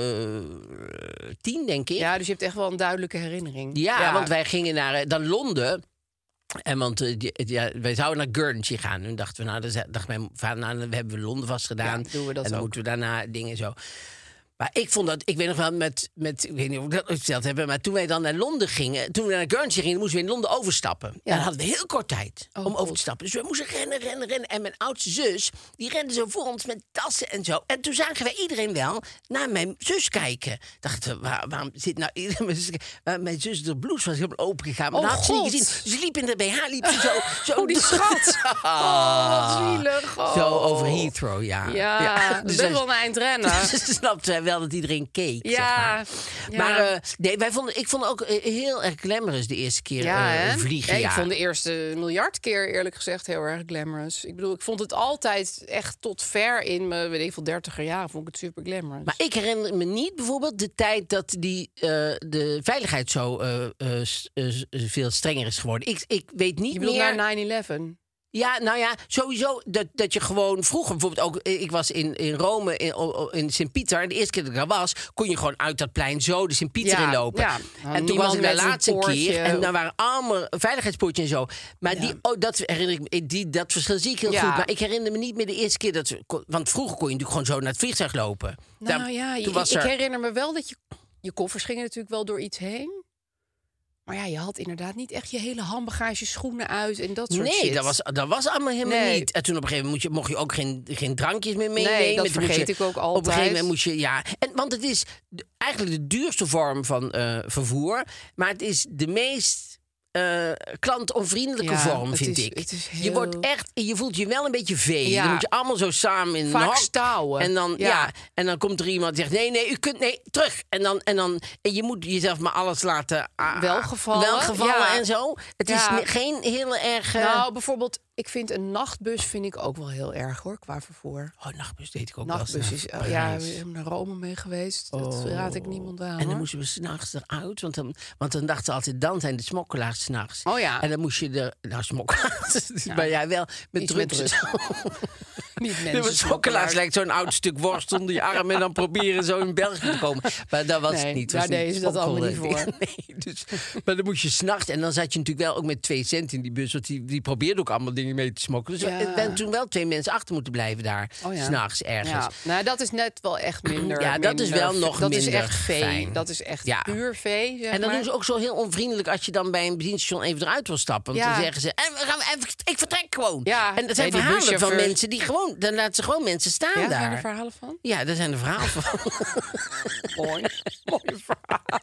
B: tien, denk ik.
E: ja, dus je hebt echt wel een duidelijke herinnering.
B: Ja, want wij gingen naar eh, dan Londen. En want eh, die- ja, wij zouden naar Guernsey gaan. Toen dachten we, nou, dan zei- dacht mijn vader, nou, dan hebben we Londen vastgedaan.
E: Ja, doen we dat
B: en dan
E: ook.
B: moeten we daarna dingen zo. Maar ik vond dat, ik weet nog wel met, met ik weet niet of ik dat ooit verteld hebben, maar toen wij dan naar Londen gingen, toen we naar Guernsey gingen, moesten we in Londen overstappen. En dan hadden we heel kort tijd
E: Oh,
B: om over te stappen. Dus we moesten rennen, rennen, rennen. En mijn oudste zus, die rende zo voor ons met tassen en zo. En toen zagen wij iedereen wel naar mijn zus kijken. Dachten, waar, waarom zit nou iedereen mijn zus? Maar mijn zus, de blouse was helemaal open gegaan. Maar
E: Oh,
B: dat had ze
E: God.
B: niet gezien. Dus ze liep in de BH, liep ze
E: <laughs>
B: zo. zo
E: Oh, die schat.
B: <laughs>
E: Oh, wat zielig. Oh.
B: Zo over Heathrow, ja. Dus
E: Ja, Dus dat is
B: zij-
E: wel een <laughs> eindrennen.
B: Dus Ze snapte hij wel dat iedereen keek. zeg
E: Ja,
B: maar,
E: ja.
B: maar eh, nee, wij vonden, ik vond ook eh, heel erg glamorous de eerste keer
E: Ja,
B: eh,
E: hè?
B: vliegen.
E: Ja,
B: Ja,
E: Ik vond de eerste miljard keer eerlijk gezegd heel erg glamorous. Ik bedoel, ik vond het altijd echt tot ver in mijn, weet ik veel, dertiger jaren vond ik het super glamorous.
B: Maar ik herinner me niet bijvoorbeeld de tijd dat die, eh, de veiligheid zo eh, eh, s- eh, s- veel strenger is geworden. Ik, ik weet niet
E: je bedoelt
B: meer...
E: naar 9-11?
B: Ja, nou ja, sowieso dat, dat je gewoon vroeger bijvoorbeeld ook... eh, Ik was in, in Rome, in, o- o- in Sint-Pieter. En de eerste keer dat ik daar was, kon je gewoon uit dat plein zo de Sint-Pieter
E: Ja,
B: inlopen.
E: ja. Nou,
B: En toen
E: niemand
B: was ik de
E: met een
B: laatste
E: poortje
B: keer. En
E: of-
B: daar waren allemaal veiligheidspoortjes en zo. Maar die, oh, dat herinner ik me, eh, die, dat verschil zie ik heel
E: Ja.
B: goed. Maar ik herinner me niet meer de eerste keer dat... we kon- Want vroeger kon je natuurlijk gewoon zo naar het vliegtuig lopen.
E: Nou
B: Daar-
E: ja,
B: toen
E: ik,
B: was
E: ik
B: er-
E: herinner me wel dat je, je koffers gingen natuurlijk wel door iets heen. Maar ja, je had inderdaad niet echt je hele handbagage, schoenen uit en dat soort
B: nee,
E: shit.
B: dat was, dat was allemaal helemaal
E: Nee.
B: niet. En toen op een gegeven moment mocht je, mocht je ook geen, geen drankjes meer
E: Nee,
B: meenemen.
E: dat
B: Toen moest
E: vergeet
B: je-
E: ik ook
B: Op een
E: altijd.
B: gegeven moment moest je, ja. En, want het is de- eigenlijk de duurste vorm van eh, vervoer. Maar het is de meest eh, klantonvriendelijke
E: Ja,
B: vorm,
E: het
B: vind
E: is-
B: ik.
E: het is
B: Je
E: heel-
B: wordt echt, je voelt je wel een beetje vee.
E: Ja.
B: Dan moet je allemaal zo samen in
E: Vaak
B: een hok.
E: stouwen.
B: En dan, ja.
E: Ja.
B: en dan komt er iemand die zegt, nee, nee, u kunt, nee, terug. En dan, en dan, en je moet jezelf maar alles laten... ah,
E: Welgevallen,
B: welgevallen
E: ja.
B: en zo. Het
E: Ja.
B: is ne- geen heel erg... eh,
E: Nou, bijvoorbeeld, ik vind een nachtbus vind ik ook wel heel erg hoor, qua vervoer.
B: Oh, nachtbus deed ik ook wel
E: Nachtbus
B: eens
E: is,
B: naar
E: oh, ja, we
B: Parijs. Oh.
E: zijn naar Rome mee geweest. Dat raad ik niemand aan.
B: En dan
E: hoor.
B: moesten we s'nachts eruit, want dan, want dan dachten ze altijd, dan zijn de smokkelaars s'nachts.
E: Oh ja.
B: En dan moest je er, nou smokkelaars, <laughs> maar jij wel, met
E: Iets met
B: drugs.
E: <laughs> Niet
B: De
E: mensen.
B: smokkelaars lijkt zo'n oud stuk worst onder je arm... en dan proberen zo in België te komen. Maar dat was
E: Nee,
B: het niet.
E: daar
B: was niet
E: deden ze dat allemaal niet
B: smokkelen.
E: voor.
B: <laughs> Nee, dus, maar dan moest je s'nachts... en dan zat je natuurlijk wel ook met twee cent in die bus... want die, die probeerden ook allemaal dingen mee te smokkelen. Dus
E: Ja.
B: er zijn toen wel twee mensen achter moeten blijven daar.
E: Oh ja.
B: S'nachts ergens.
E: Ja, nou, dat is net wel echt minder.
B: Ja, dat is
E: minder-
B: wel nog
E: dat
B: minder
E: is echt vee.
B: fijn.
E: Dat is echt
B: Ja.
E: puur vee. Zeg
B: En dan
E: maar.
B: doen ze ook zo heel onvriendelijk als je dan bij een benzinestation even eruit wil stappen. Want
E: Ja.
B: dan zeggen ze, en we gaan, en ik- ik vertrek gewoon.
E: Ja,
B: en dat zijn
E: bij die
B: verhalen van
E: buschauffeurs.
B: mensen die gewoon, dan laten ze gewoon mensen staan
E: ja, zijn er
B: daar.
E: verhalen van?
B: Ja, daar zijn de verhalen van. <laughs>
E: Mooi. Mooi verhaal.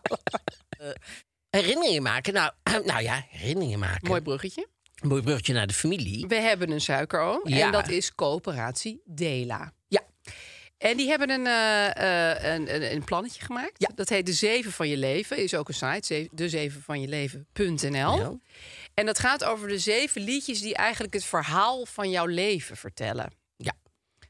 B: herinneringen maken, nou, <clears throat> nou ja, herinneringen maken.
E: Mooi bruggetje.
B: Een mooi bruggetje naar de familie.
E: We hebben een suikeroom.
B: Ja.
E: En dat is coöperatie Dela.
B: Ja.
E: En die hebben een, eh, eh, een, een, een plannetje gemaakt. Dat heet De Zeven van Je Leven. Is ook een site, dezevenvanjeleven.nl.
B: Ja.
E: En dat gaat over de zeven liedjes die eigenlijk het verhaal van jouw leven vertellen.
B: Ja.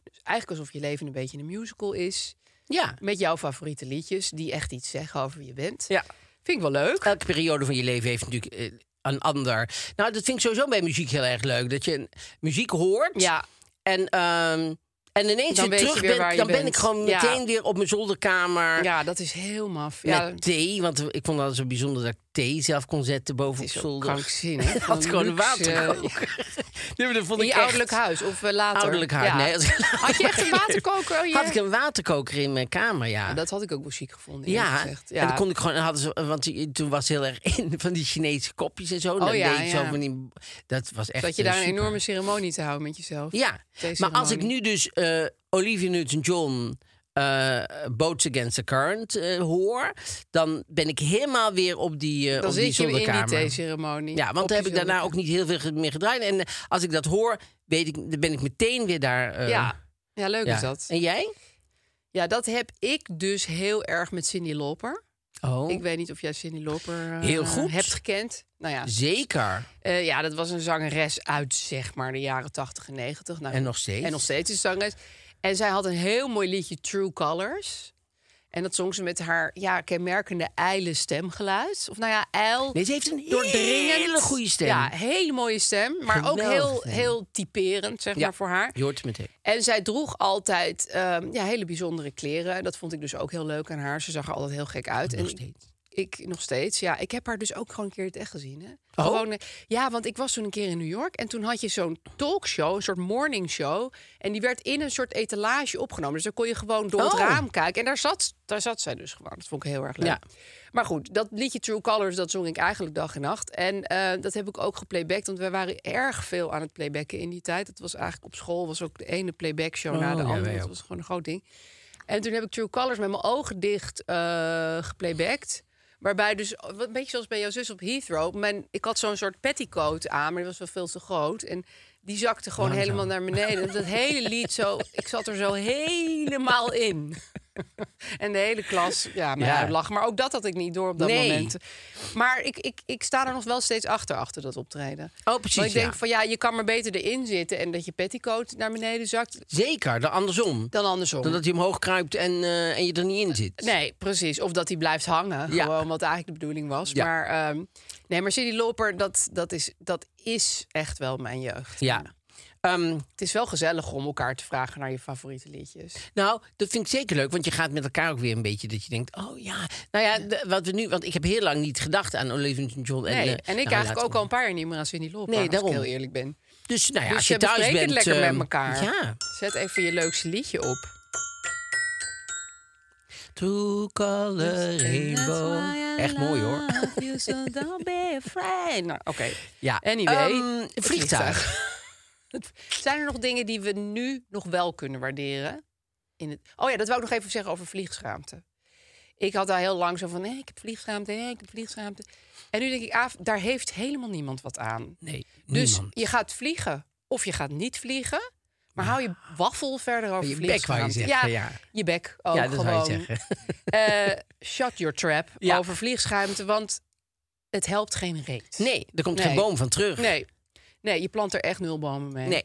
E: Dus eigenlijk alsof je leven een beetje een musical is.
B: Ja.
E: Met jouw favoriete liedjes die echt iets zeggen over wie je bent.
B: ja.
E: Vind ik wel leuk.
B: Elke periode van je leven heeft natuurlijk eh, een ander. Nou, dat vind ik sowieso bij muziek heel erg leuk. Dat je een- muziek hoort.
E: Ja,
B: En, ehm, en ineens
E: Dan
B: weer
E: weet je
B: terug
E: weer
B: bent,
E: waar je
B: dan ben
E: bent.
B: ik gewoon
E: Ja.
B: meteen weer op mijn zolderkamer.
E: ja, dat is heel maf. Ja,
B: met thee. Want ik vond dat zo bijzonder dat ik thee zelf kon zetten boven op
E: is ook
B: zolder. <laughs>
E: krankzinnig.
B: Ik had
E: Een
B: gewoon een
E: luxe-
B: waterkoker. <laughs> nee, maar dat vond ik
E: in je
B: echt-
E: ouderlijk huis of eh, later.
B: Ouderlijk huis,
E: Ja.
B: nee. als ik-
E: Had je echt een waterkoker?
B: <laughs>
E: oh,
B: Had ik een waterkoker in mijn kamer, ja.
E: Dat had ik ook wel chic gevonden. eerlijk
B: ja,
E: gezegd.
B: en dan kon ik gewoon, en hadden ze, want die- toen was heel erg in van die Chinese kopjes en zo. En dan
E: Oh ja,
B: deed ik zo
E: ja.
B: van die, dat was echt
E: Dat je daar
B: eh,
E: een
B: super.
E: enorme ceremonie te houden met jezelf.
B: Ja,
E: Deze
B: maar als ik
E: ceremonie.
B: nu dus eh, Olivia Newton-John... eh, Boats Against the Current eh, hoor, dan ben ik helemaal weer op die, eh
E: Dan
B: op die
E: zit je in die
B: zolderkamer.
E: theeceremonie.
B: Ja, want
E: Op
B: daar heb
E: je
B: ik daarna
E: zolder.
B: ook niet heel veel ge- meer gedraaid. En eh, als ik dat hoor, weet ik, dan ben ik meteen weer daar. eh,
E: Ja. Ja, leuk
B: ja.
E: is dat.
B: En jij?
E: Ja, dat heb ik dus heel erg met Cindy Loper.
B: Oh,
E: Ik weet niet of jij Cindy Loper eh,
B: Heel goed.
E: hebt gekend. Nou ja,
B: zeker.
E: eh, ja, dat was een zangeres uit zeg maar de jaren 80 en 90. Nou,
B: En nog steeds.
E: En nog steeds is zangeres. En zij had een heel mooi liedje True Colors. En dat zong ze met haar ja, kenmerkende ijle stemgeluid. Of nou ja, ijl.
B: Nee, ze heeft een
E: doordringend.
B: hele goede stem.
E: Ja, hele mooie stem. Maar ook
B: Geweldige
E: heel,
B: stem.
E: heel typerend, zeg
B: Ja.
E: maar, voor haar.
B: Je hoort het meteen.
E: En zij droeg altijd ehm, ja, hele bijzondere kleren. En dat vond ik dus ook heel leuk aan haar. Ze zag er altijd heel gek uit. En ik, ik nog steeds. Ja, ik heb haar dus ook gewoon een keer in het echt gezien. Hè? Gewoon, eh, ja, want ik was toen een keer in New York en toen had je zo'n talkshow, een soort morning show. En die werd in een soort etalage opgenomen. Dus dan kon je gewoon door het
B: Oh.
E: raam kijken. En daar zat, daar zat zij dus gewoon. Dat vond ik heel erg leuk.
B: Ja.
E: Maar goed, dat liedje True Colors, dat zong ik eigenlijk dag en nacht. En eh, dat heb ik ook geplaybacked, want wij waren erg veel aan het playbacken in die tijd. Dat was eigenlijk op school, was ook de ene playback show na de
B: Oh, ja,
E: andere.
B: wij
E: dat
B: ook.
E: was gewoon een groot ding. En toen heb ik True Colors met mijn ogen dicht eh geplaybacked. Waarbij dus, wat een beetje zoals bij jouw zus op Heathrow. Mijn, ik had zo'n soort petticoat aan, maar die was wel veel te groot. En die zakte gewoon helemaal naar beneden. Dus Dat hele lied zo, ik zat er zo helemaal in. En de hele klas, ja, mij
B: Ja.
E: uitlachen. Maar ook dat had ik niet door op dat
B: Nee.
E: moment. Maar ik, ik, ik sta er nog wel steeds achter, achter dat optreden.
B: Oh, precies,
E: Want ik denk
B: ja.
E: van, ja, je kan maar beter erin zitten... en dat je petticoat naar beneden zakt,
B: Zeker, dan andersom.
E: dan andersom.
B: Dan dat hij omhoog kruipt en, eh, en je er niet in zit.
E: Nee, precies. Of dat hij blijft hangen.
B: Ja.
E: Gewoon wat eigenlijk de bedoeling was.
B: Ja.
E: Maar, ehm, nee, maar Cindy Loper, dat, dat, is, dat is echt wel mijn jeugd.
B: Ja. Ehm,
E: Het is wel gezellig om elkaar te vragen naar je favoriete liedjes.
B: nou, dat vind ik zeker leuk, want je gaat met elkaar ook weer een beetje dat je denkt, oh ja, nou ja, de- wat we nu, want ik heb heel lang niet gedacht aan Olivia Newton-John.
E: Nee,
B: eh,
E: en ik
B: nou,
E: eigenlijk
B: laat-
E: ook al een paar jaar niet meer aan Cindy Loper.
B: Nee,
E: als
B: daarom.
E: ik heel eerlijk ben.
B: Dus nou ja,
E: Dus
B: als
E: je
B: je, thuis
E: bespreekt
B: bent,
E: het lekker
B: ehm,
E: met elkaar.
B: Ja.
E: Zet even je leukste liedje op.
B: True color rainbow. Echt mooi hoor.
E: Nou, oké.
B: Ja.
E: Anyway,
B: Ehm,
E: het
B: vliegtuig.
E: <laughs> Zijn er nog dingen die we nu nog wel kunnen waarderen? In het... Oh ja, dat wou ik nog even zeggen over vliegschaamte. Ik had daar heel lang zo van, nee, ik heb vliegschaamte, nee, ik heb vliegschaamte. En nu denk ik, af, daar heeft helemaal niemand wat aan.
B: Nee,
E: Dus
B: niemand.
E: je gaat vliegen of je gaat niet vliegen. Maar hou je waffel verder over
B: Je bek wou je
E: vliegenschaamte.
B: zeggen, ja.
E: je bek ook
B: ja, dat
E: gewoon.
B: zou je zeggen. <laughs>
E: Eh, shut your trap
B: Ja.
E: over vliegschaamte, want het helpt geen reet.
B: Nee, er komt geen
E: Nee.
B: boom van terug.
E: Nee. Nee, je plant er echt nul bomen mee.
B: Nee.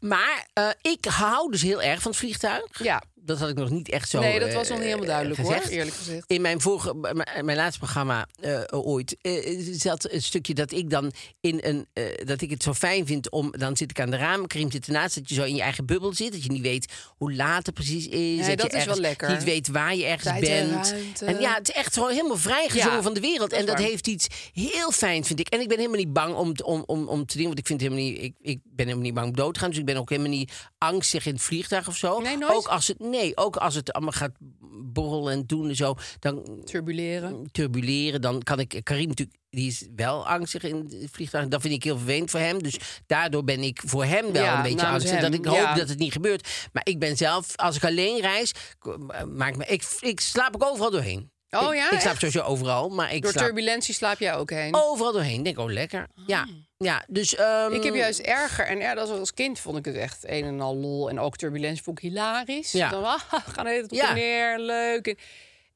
B: Maar eh, ik hou dus heel erg van het vliegtuig.
E: Ja.
B: Dat had ik nog niet echt zo.
E: nee, dat
B: eh,
E: was nog niet helemaal
B: eh,
E: duidelijk
B: gezegd.
E: hoor, eerlijk gezegd.
B: In mijn, vorige, mijn, mijn laatste programma eh, ooit eh, zat een stukje dat ik dan in een. eh, dat ik het zo fijn vind om. Dan zit ik aan de raam, Krim zit ernaast. Dat je zo in je eigen bubbel zit. Dat je niet weet hoe laat het precies is. je
E: dat is wel
B: ergens
E: lekker.
B: Niet weet waar je ergens
E: Tijd en
B: bent.
E: ruimte.
B: En ja, het is echt gewoon helemaal vrijgezongen
E: Ja,
B: van de wereld.
E: dat is
B: en dat
E: waar.
B: heeft iets heel fijn, vind ik. En ik ben helemaal niet bang om, te- om, om, om te dingen. Want ik, vind helemaal niet, ik, ik ben helemaal niet bang om dood te gaan. Dus ik ben ook helemaal niet angstig in het vliegtuig of zo.
E: Nee, nooit?
B: Ook als het, nee, ook als het allemaal gaat borrelen en doen en zo. Dan Mm,
E: Turbuleren.
B: turbuleren. Dan kan ik Karim natuurlijk, die is wel angstig in het vliegtuig. Dat vind ik heel vervelend voor hem. Dus daardoor ben ik voor hem wel
E: Ja,
B: een beetje
E: namens
B: angstig. Dat
E: hem,
B: ik hoop
E: ja.
B: dat het niet gebeurt. Maar ik ben zelf, als ik alleen reis, k- maakt me, ik, ik slaap ook overal doorheen.
E: Oh
B: ik,
E: ja,
B: Ik slaap
E: echt?
B: sowieso overal, maar ik
E: Door
B: slaap
E: turbulentie slaap jij ook heen.
B: overal doorheen. Denk, oh lekker. Ja, ja dus... ehm,
E: Ah. Ik heb juist erger. En ja, dat was als kind vond ik het echt een en al lol. En ook turbulentie vond ik hilarisch.
B: Ja.
E: Dan, ah, we gaan het op
B: Ja.
E: en neer, leuk. En,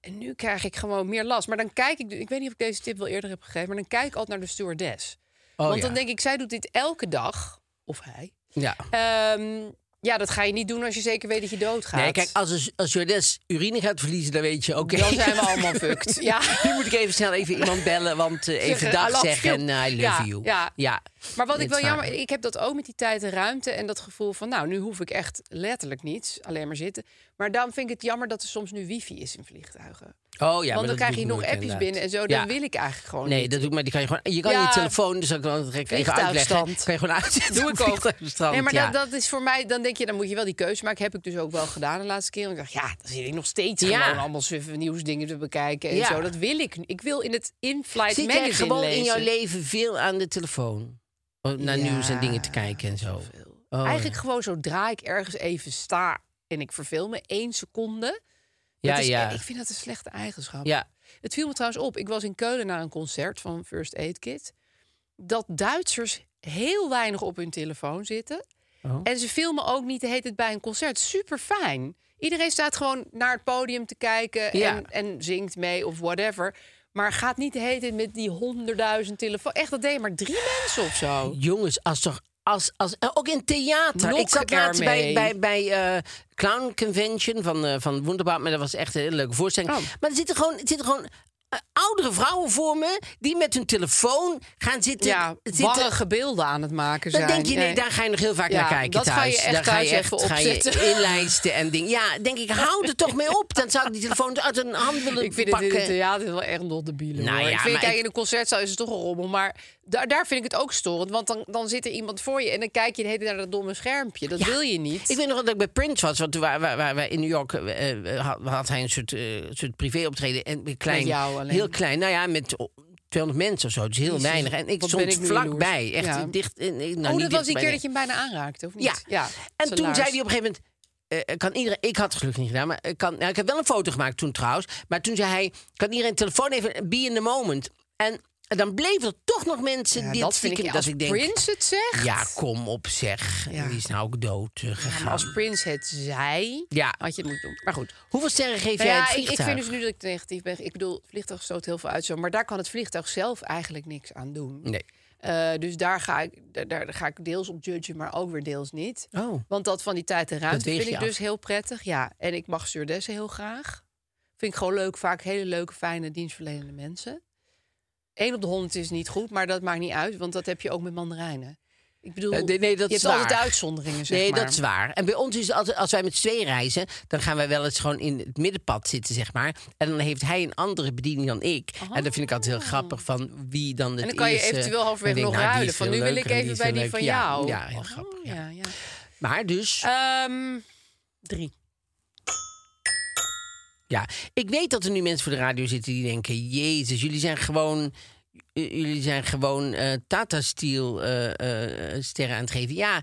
E: en nu krijg ik gewoon meer last. Maar dan kijk ik, ik weet niet of ik deze tip wel eerder heb gegeven... maar dan kijk ik altijd naar de stewardess.
B: Oh,
E: Want
B: ja.
E: dan denk ik, zij doet dit elke dag. Of hij.
B: Ja.
E: Ehm, ja, dat ga je niet doen als je zeker weet dat je doodgaat.
B: Nee, kijk, als, een- als Jordes urine gaat verliezen, dan weet je, oké.
E: Dan zijn we
B: <laughs>
E: allemaal fucked. Ja.
B: Nu moet ik even snel even iemand bellen, want eh, even
E: Zeggen, I
B: dag
E: love
B: zeggen en
E: you.
B: eh, I love
E: Ja,
B: you. Oh,
E: ja. Maar wat
B: Dat
E: ik wel
B: is waar.
E: jammer, ik heb dat ook met die tijd en ruimte en dat gevoel van, nou, nu hoef ik echt letterlijk niets, alleen maar zitten. Maar daarom vind ik het jammer dat er soms nu wifi is in vliegtuigen.
B: Oh ja, maar
E: Want
B: dat
E: dan krijg
B: doe
E: je
B: ik
E: nog
B: nooit,
E: appjes
B: inderdaad.
E: binnen en zo. Dat
B: Ja.
E: wil ik eigenlijk gewoon
B: Nee, <laughs>
E: niet.
B: dat doe ik maar. Die kan je gewoon. Je kan
E: Ja.
B: je telefoon, dus dat kan ik direct even uitleggen.
E: Vliegtuigstand.
B: Kan je gewoon uit.
E: Doe
B: <laughs>
E: ik ook.
B: Vliegtuigstand,
E: nee, maar
B: ja.
E: dat, dat is voor mij, dan denk je, dan moet je wel die keuze maken. Heb ik dus ook wel gedaan de laatste keer. Want ik dacht, ja, dan zit ik nog steeds
B: Ja.
E: gewoon allemaal suffe nieuwsdingen te bekijken en
B: Ja.
E: zo. Dat wil ik. niet. Ik wil in het in-flight
B: Zit jij
E: magazine
B: gewoon
E: lezen.
B: in jouw leven veel aan de telefoon? Om Naar
E: Ja,
B: nieuws en dingen te kijken en zo. Oh,
E: Eigenlijk gewoon zodra ik ergens even sta en ik verveel me één seconde.
B: ja,
E: dat is,
B: ja.
E: Ik vind dat een slechte eigenschap.
B: ja.
E: Het viel me trouwens op. Ik was in Keulen naar een concert van First Aid Kit. Dat Duitsers heel weinig op hun telefoon zitten.
B: Oh.
E: En ze filmen ook niet de hele tijd bij een concert. Super fijn. Iedereen staat gewoon naar het podium te kijken
B: Ja.
E: en, en zingt mee of whatever. Maar gaat niet de hele tijd met die honderdduizend telefoon. Echt, dat deden maar drie mensen of zo.
B: Jongens, als toch. Als, als, eh, ook in theater.
E: Nok
B: ik zat laatst
E: ermee.
B: bij, bij, bij eh, Clown Convention van, eh van Wunderbaum. Maar dat was echt een hele leuke voorstelling.
E: Oh.
B: Maar er zitten gewoon, er zitten gewoon eh, oudere vrouwen voor me die met hun telefoon gaan zitten.
E: ja,
B: zitten
E: warrige beelden aan het maken zijn.
B: dan denk je, nee,
E: Ja.
B: daar ga je nog heel vaak
E: Ja,
B: naar kijken
E: dat ga je
B: thuis.
E: echt
B: daar ga
E: thuis
B: je echt
E: even
B: ga je
E: opzetten.
B: inlijsten en dingen. Ja, denk ik, hou er toch mee op. Dan zou ik die telefoon uit een hand willen
E: <laughs> Ik vind het
B: pakken.
E: in het theater wel echt nog debiele.
B: Nou ja,
E: hoor. ik
B: maar
E: vind, kijk,
B: ik-
E: in een concertzaal is het toch een rommel. Maar daar, daar vind ik het ook storend. Want dan, dan zit er iemand voor je en dan kijk je de hele tijd naar dat domme schermpje. Dat
B: Ja.
E: wil je niet.
B: Ik weet nog dat ik bij Prince was, want toen waar, waar, waar wij in New York eh, eh, had, had hij een soort, eh, soort privéoptreden en een klein,
E: Met jou alleen.
B: heel klein. Nou ja, met oh, 200 mensen of zo, dus heel
E: Jezus,
B: weinig. En ik
E: wat ben
B: stond
E: ik nu
B: vlakbij,
E: jaloers.
B: echt
E: Ja.
B: dicht. eh, nee, nou, niet
E: oh, dat was die
B: dichtbij,
E: keer
B: nee.
E: dat je hem bijna aanraakte, of niet?
B: Ja. En
E: zijn
B: toen
E: laars.
B: zei hij op een gegeven moment. eh, kan iedereen, ik had het gelukkig niet gedaan, maar eh, kan, nou, ik heb wel een foto gemaakt toen trouwens. Maar toen zei hij: Kan iedereen telefoon even eh, be in the moment? En dan bleven er toch nog mensen
E: Ja,
B: die
E: dat vind
B: stiekem-
E: ik,
B: dat
E: als
B: ik denk,
E: Prince het zegt...
B: Ja, kom op, zeg.
E: Ja.
B: Die is nou ook dood eh, gegaan.
E: Maar als Prince het zei,
B: Ja.
E: had je het moeten doen. Maar goed.
B: Hoeveel sterren geef
E: Nou
B: jij
E: ja,
B: het
E: ik, ik
B: vliegtuig?
E: vind dus nu dat ik te negatief ben. Ik bedoel, het vliegtuig stoot heel veel uit. Zo, maar daar kan het vliegtuig zelf eigenlijk niks aan doen.
B: Nee.
E: Eh, dus daar ga, ik, daar, daar ga ik deels op judgen, maar ook weer deels niet.
B: Oh.
E: Want dat van die tijd en ruimte
B: weeg
E: vind
B: je
E: ik
B: af.
E: dus heel prettig. Ja, en ik mag stewardessen heel graag. Vind ik gewoon leuk, vaak hele leuke, fijne, dienstverlenende mensen. Eén op de honderd is niet goed, maar dat maakt niet uit. Want dat heb je ook met mandarijnen. Ik bedoel,
B: Eh, nee, nee, dat
E: je
B: is
E: hebt altijd
B: waar.
E: uitzonderingen, zeg
B: Nee,
E: maar.
B: dat is waar. En bij ons is het altijd, als wij met z'n tweeën reizen, dan gaan wij wel eens gewoon in het middenpad zitten, zeg maar. En dan heeft hij een andere bediening dan ik. En dat vind ik altijd heel grappig van wie dan het
E: Oh. En dan kan je
B: is, eh,
E: eventueel halverwege
B: dan denk ik,
E: nog
B: nou, die
E: ruilen.
B: is
E: Van
B: veel
E: nu wil
B: leuker
E: ik
B: en
E: even
B: is
E: bij
B: veel
E: die van
B: leuker. Ja,
E: jou.
B: Ja, heel
E: Oh,
B: grappig. ja.
E: Ja, ja.
B: Maar dus,
E: Ehm, drie.
B: ja. Ik weet dat er nu mensen voor de radio zitten die denken: Jezus, jullie zijn gewoon. j- Jullie zijn gewoon eh, Tata Steel eh, eh, sterren aan het geven. Ja,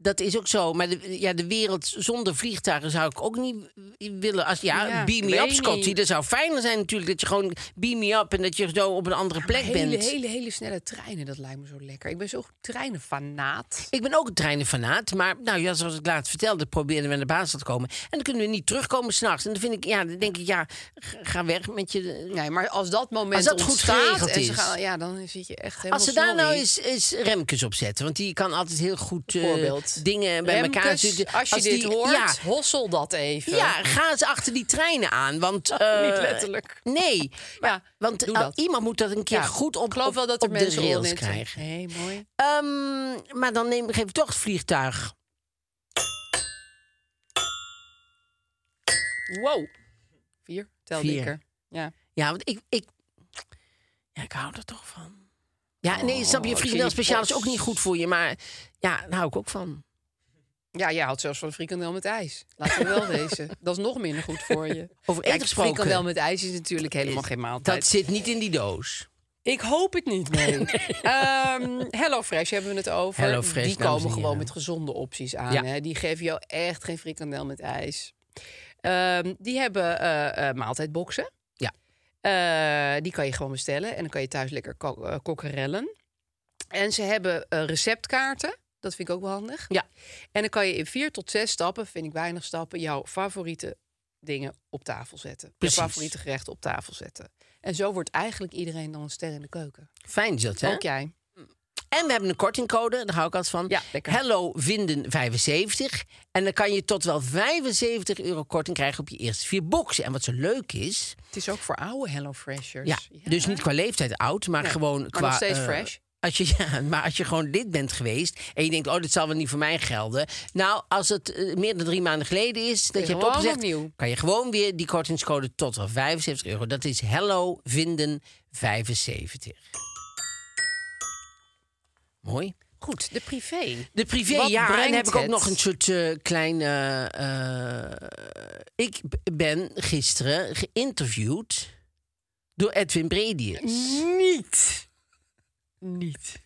B: dat is ook zo. Maar de, ja, de wereld zonder vliegtuigen zou ik ook niet willen. Als, ja,
E: Ja,
B: beam
E: ik
B: me up,
E: weet
B: Scotty.
E: niet.
B: Dat zou fijner zijn natuurlijk. Dat je gewoon beam me up en dat je zo op een andere plek
E: hele,
B: bent.
E: hele, hele snelle treinen, dat lijkt me zo lekker. Ik ben zo treinenfanaat.
B: Ik ben ook een treinenfanaat, maar nou ja, zoals ik laatst vertelde, probeerden we naar de baas te komen. En dan kunnen we niet terugkomen s'nachts. En dan vind ik, ja, dan denk ik, ja, g- ga weg met je.
E: Nee, maar als dat moment
B: Als dat goed
E: ontstaat
B: geregeld
E: en ze
B: is.
E: gaan, ja, dan zit je echt helemaal
B: Als ze daar nou
E: snorrie.
B: eens, eens Remkes op zetten, want die kan altijd heel goed eh,
E: Bijvoorbeeld.
B: dingen bij
E: Remkes,
B: elkaar zitten.
E: Als je dit
B: die-
E: hoort,
B: Ja,
E: hossel dat even.
B: ja, ga eens achter die treinen aan, want... eh,
E: <laughs> Niet letterlijk.
B: Nee,
E: <laughs> Ja,
B: want
E: doe
B: eh,
E: dat.
B: iemand moet dat een keer
E: Ja,
B: goed op,
E: Ik geloof wel
B: op,
E: dat er
B: op
E: mensen
B: de
E: horen
B: rails
E: dit.
B: krijgen.
E: Hé, mooi.
B: Ehm, maar dan neem, geef ik toch het vliegtuig.
E: Wow. Vier, tel
B: Vier.
E: dikker. Ja.
B: Ja, want ik, ik, ja, ik hou er toch van. Ja, nee, snap je,
E: Oh,
B: frikandel
E: chili
B: speciaal is
E: pots.
B: ook niet goed voor je, maar ja, daar hou ik ook van.
E: Ja, jij houdt zelfs van frikandel met ijs. Laten we wel <laughs> wezen. Dat is nog minder goed voor je.
B: Over
E: Kijk,
B: eten gesproken. Eh,
E: Frikandel met ijs is natuurlijk helemaal geen maaltijd.
B: Dat zit niet in die doos.
E: Ik hoop het niet,
B: <laughs>
E: nee. Ehm, HelloFresh hebben we het over.
B: HelloFresh,
E: die
B: dames en
E: komen gewoon
B: heren.
E: met gezonde opties aan.
B: Ja.
E: Hè? Die geven jou echt geen frikandel met ijs. Ehm, die hebben eh, eh, maaltijdboxen.
B: Ja.
E: Eh, die kan je gewoon bestellen. En dan kan je thuis lekker ko- eh, kokkerellen. En ze hebben eh, receptkaarten. Dat vind ik ook wel handig.
B: Ja.
E: En dan kan je in vier tot zes stappen, vind ik weinig stappen, jouw favoriete dingen op tafel zetten.
B: Precies.
E: Je favoriete gerechten op tafel zetten. En zo wordt eigenlijk iedereen dan een ster in de keuken.
B: Fijn is dat, hè?
E: Ook jij.
B: En we hebben een kortingcode, daar hou ik altijd van.
E: Ja, lekker.
B: Hello Vinden 75. En dan kan je tot wel 75 euro korting krijgen op je eerste vier boxen. En wat zo leuk is,
E: Het is ook voor oude HelloFreshers.
B: ja, dus niet qua leeftijd oud, maar
E: Nee,
B: gewoon
E: maar
B: qua...
E: nog steeds
B: eh,
E: fresh.
B: Als je, <laughs> ja, maar als je gewoon lid bent geweest en je denkt, oh, dit zal wel niet voor mij gelden. Nou, als het eh, meer dan drie maanden geleden is dat
E: je
B: je hebt
E: gewoon
B: opgezegd,
E: opnieuw.
B: kan je gewoon weer die kortingscode tot wel 75 euro. Dat is Hello Vinden 75. Mooi.
E: Goed, de privé.
B: De privé,
E: Wat
B: ja. En
E: brengt
B: heb ik ook
E: het?
B: nog een soort eh, klein... eh, eh, ik b- ben gisteren geïnterviewd door Edwin Bredius.
E: Mm. Niet. Niet.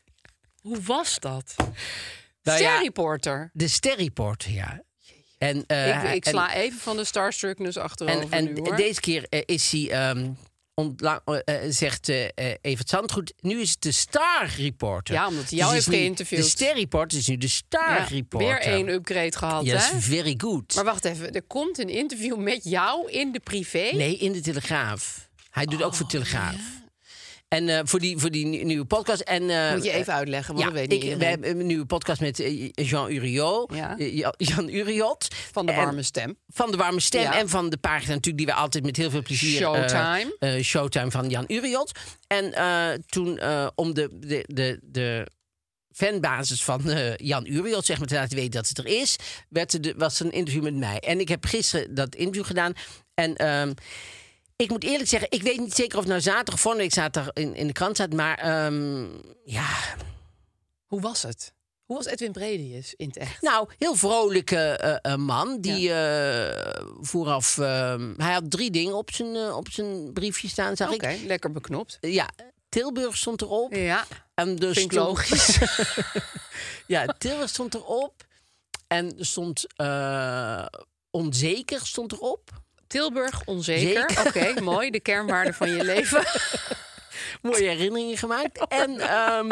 E: Hoe was dat?
B: Nou ja,
E: Sterreporter.
B: De sterreporter, ja. En, eh,
E: ik, ik
B: en-
E: sla even van de starstruckness achterover
B: En, en
E: nu, hoor.
B: deze keer eh, is hij, ehm, ontla- eh, eh, zegt eh eh, Evert Zandgoed, nu is het de Star Reporter.
E: Ja, omdat
B: Dus
E: hij jou
B: is
E: heeft
B: nu-
E: geïnterviewd.
B: De Ster Reporter is nu de Star
E: Ja,
B: Reporter.
E: weer één upgrade gehad,
B: Yes,
E: hè?
B: very good.
E: Maar wacht even, er komt een interview met jou in de privé. Oh,
B: Nee, in de Telegraaf. Hij doet ook voor Telegraaf. En eh, voor, die, voor die nie- nieuwe podcast. En, eh,
E: Moet je even uitleggen, want
B: ja,
E: dat
B: ik,
E: weet niet
B: we
E: iedereen.
B: hebben een nieuwe podcast met eh, Jean Uriot.
E: Ja.
B: Eh, Ja- Jan Uriot.
E: Van de
B: En-
E: warme stem.
B: van de warme stem
E: Ja.
B: en van de pagina natuurlijk die we altijd met heel veel plezier... eh,
E: Showtime.
B: eh, showtime van Jan Uriot. En eh, toen eh, om de, de, de, de fanbasis van eh, Jan Uriot zeg maar, te laten weten dat het er is... Werd er de, was er een interview met mij. En ik heb gisteren dat interview gedaan. En ehm, ik moet eerlijk zeggen, ik weet niet zeker of het nou zaterdag of vorige week zaterdag in, in de krant staat. Maar ehm, ja,
E: Hoe was het? Hoe was Edwin Bredius in het echt?
B: Nou, heel vrolijke eh, eh, man. Die eh, vooraf. eh, hij had drie dingen op zijn, eh, op zijn briefje staan, zag
E: Oké,
B: ik. Eh,
E: lekker beknopt.
B: Ja, Tilburg stond erop.
E: Ja,
B: En dus
E: vind ik logisch.
B: ja, Tilburg stond erop. En er stond. eh, onzeker stond erop.
E: Tilburg, onzeker. Oké,
B: Zeker.
E: mooi. De kernwaarde van je
B: <laughs>
E: leven.
B: Mooie herinneringen
E: <laughs>
B: gemaakt.
E: Oh,
B: En ehm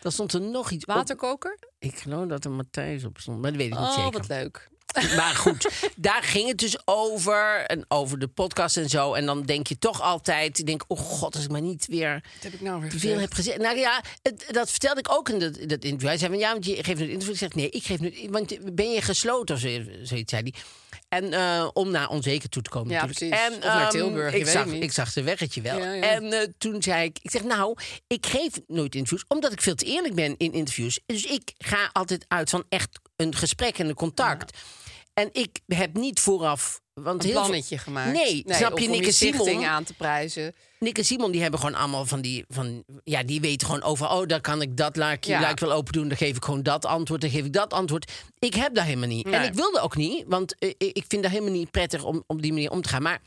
B: dan stond er nog iets op.
E: Waterkoker.
B: Ik geloof dat er Matthijs op stond, maar dat weet ik niet
E: Oh,
B: zeker.
E: wat leuk.
B: Maar goed, daar ging het dus over. En over de podcast en zo. En dan denk je toch altijd... Ik denk, oh god, als ik maar niet weer
E: Wat heb ik nou weer
B: te veel heb gezegd. Nou ja, het- dat vertelde ik ook in dat, dat interview. Hij zei van, ja, want je geeft nu een interview. Ik zeg, nee, ik geef nu... Want ben je gesloten of zo, zoiets, zei hij. En eh, om naar onzeker toe te komen
E: Ja,
B: natuurlijk.
E: precies.
B: En,
E: Of naar
B: ehm,
E: Tilburg, je
B: ik
E: weet
B: zag,
E: het niet.
B: Ik zag zijn weggetje wel.
E: Ja, ja.
B: En eh, toen zei ik, ik zeg nou, ik geef nooit interviews... omdat ik veel te eerlijk ben in interviews. Dus ik ga altijd uit van echt een gesprek en een contact. En ik heb niet vooraf... Want
E: Een
B: heel veel-
E: plannetje gemaakt.
B: Nee, snap
E: of
B: je,
E: om
B: Nick en
E: stichting
B: Simon...
E: aan te prijzen.
B: Nick en Simon die hebben gewoon allemaal van die van ja die weten gewoon over oh dan kan ik dat laakje
E: Ja.
B: laat ik wel open doen dan geef ik gewoon dat antwoord dan geef ik dat antwoord ik heb dat helemaal niet en
E: Nee.
B: ik wilde ook niet want eh, ik ik vind dat helemaal niet prettig om op die manier om te gaan maar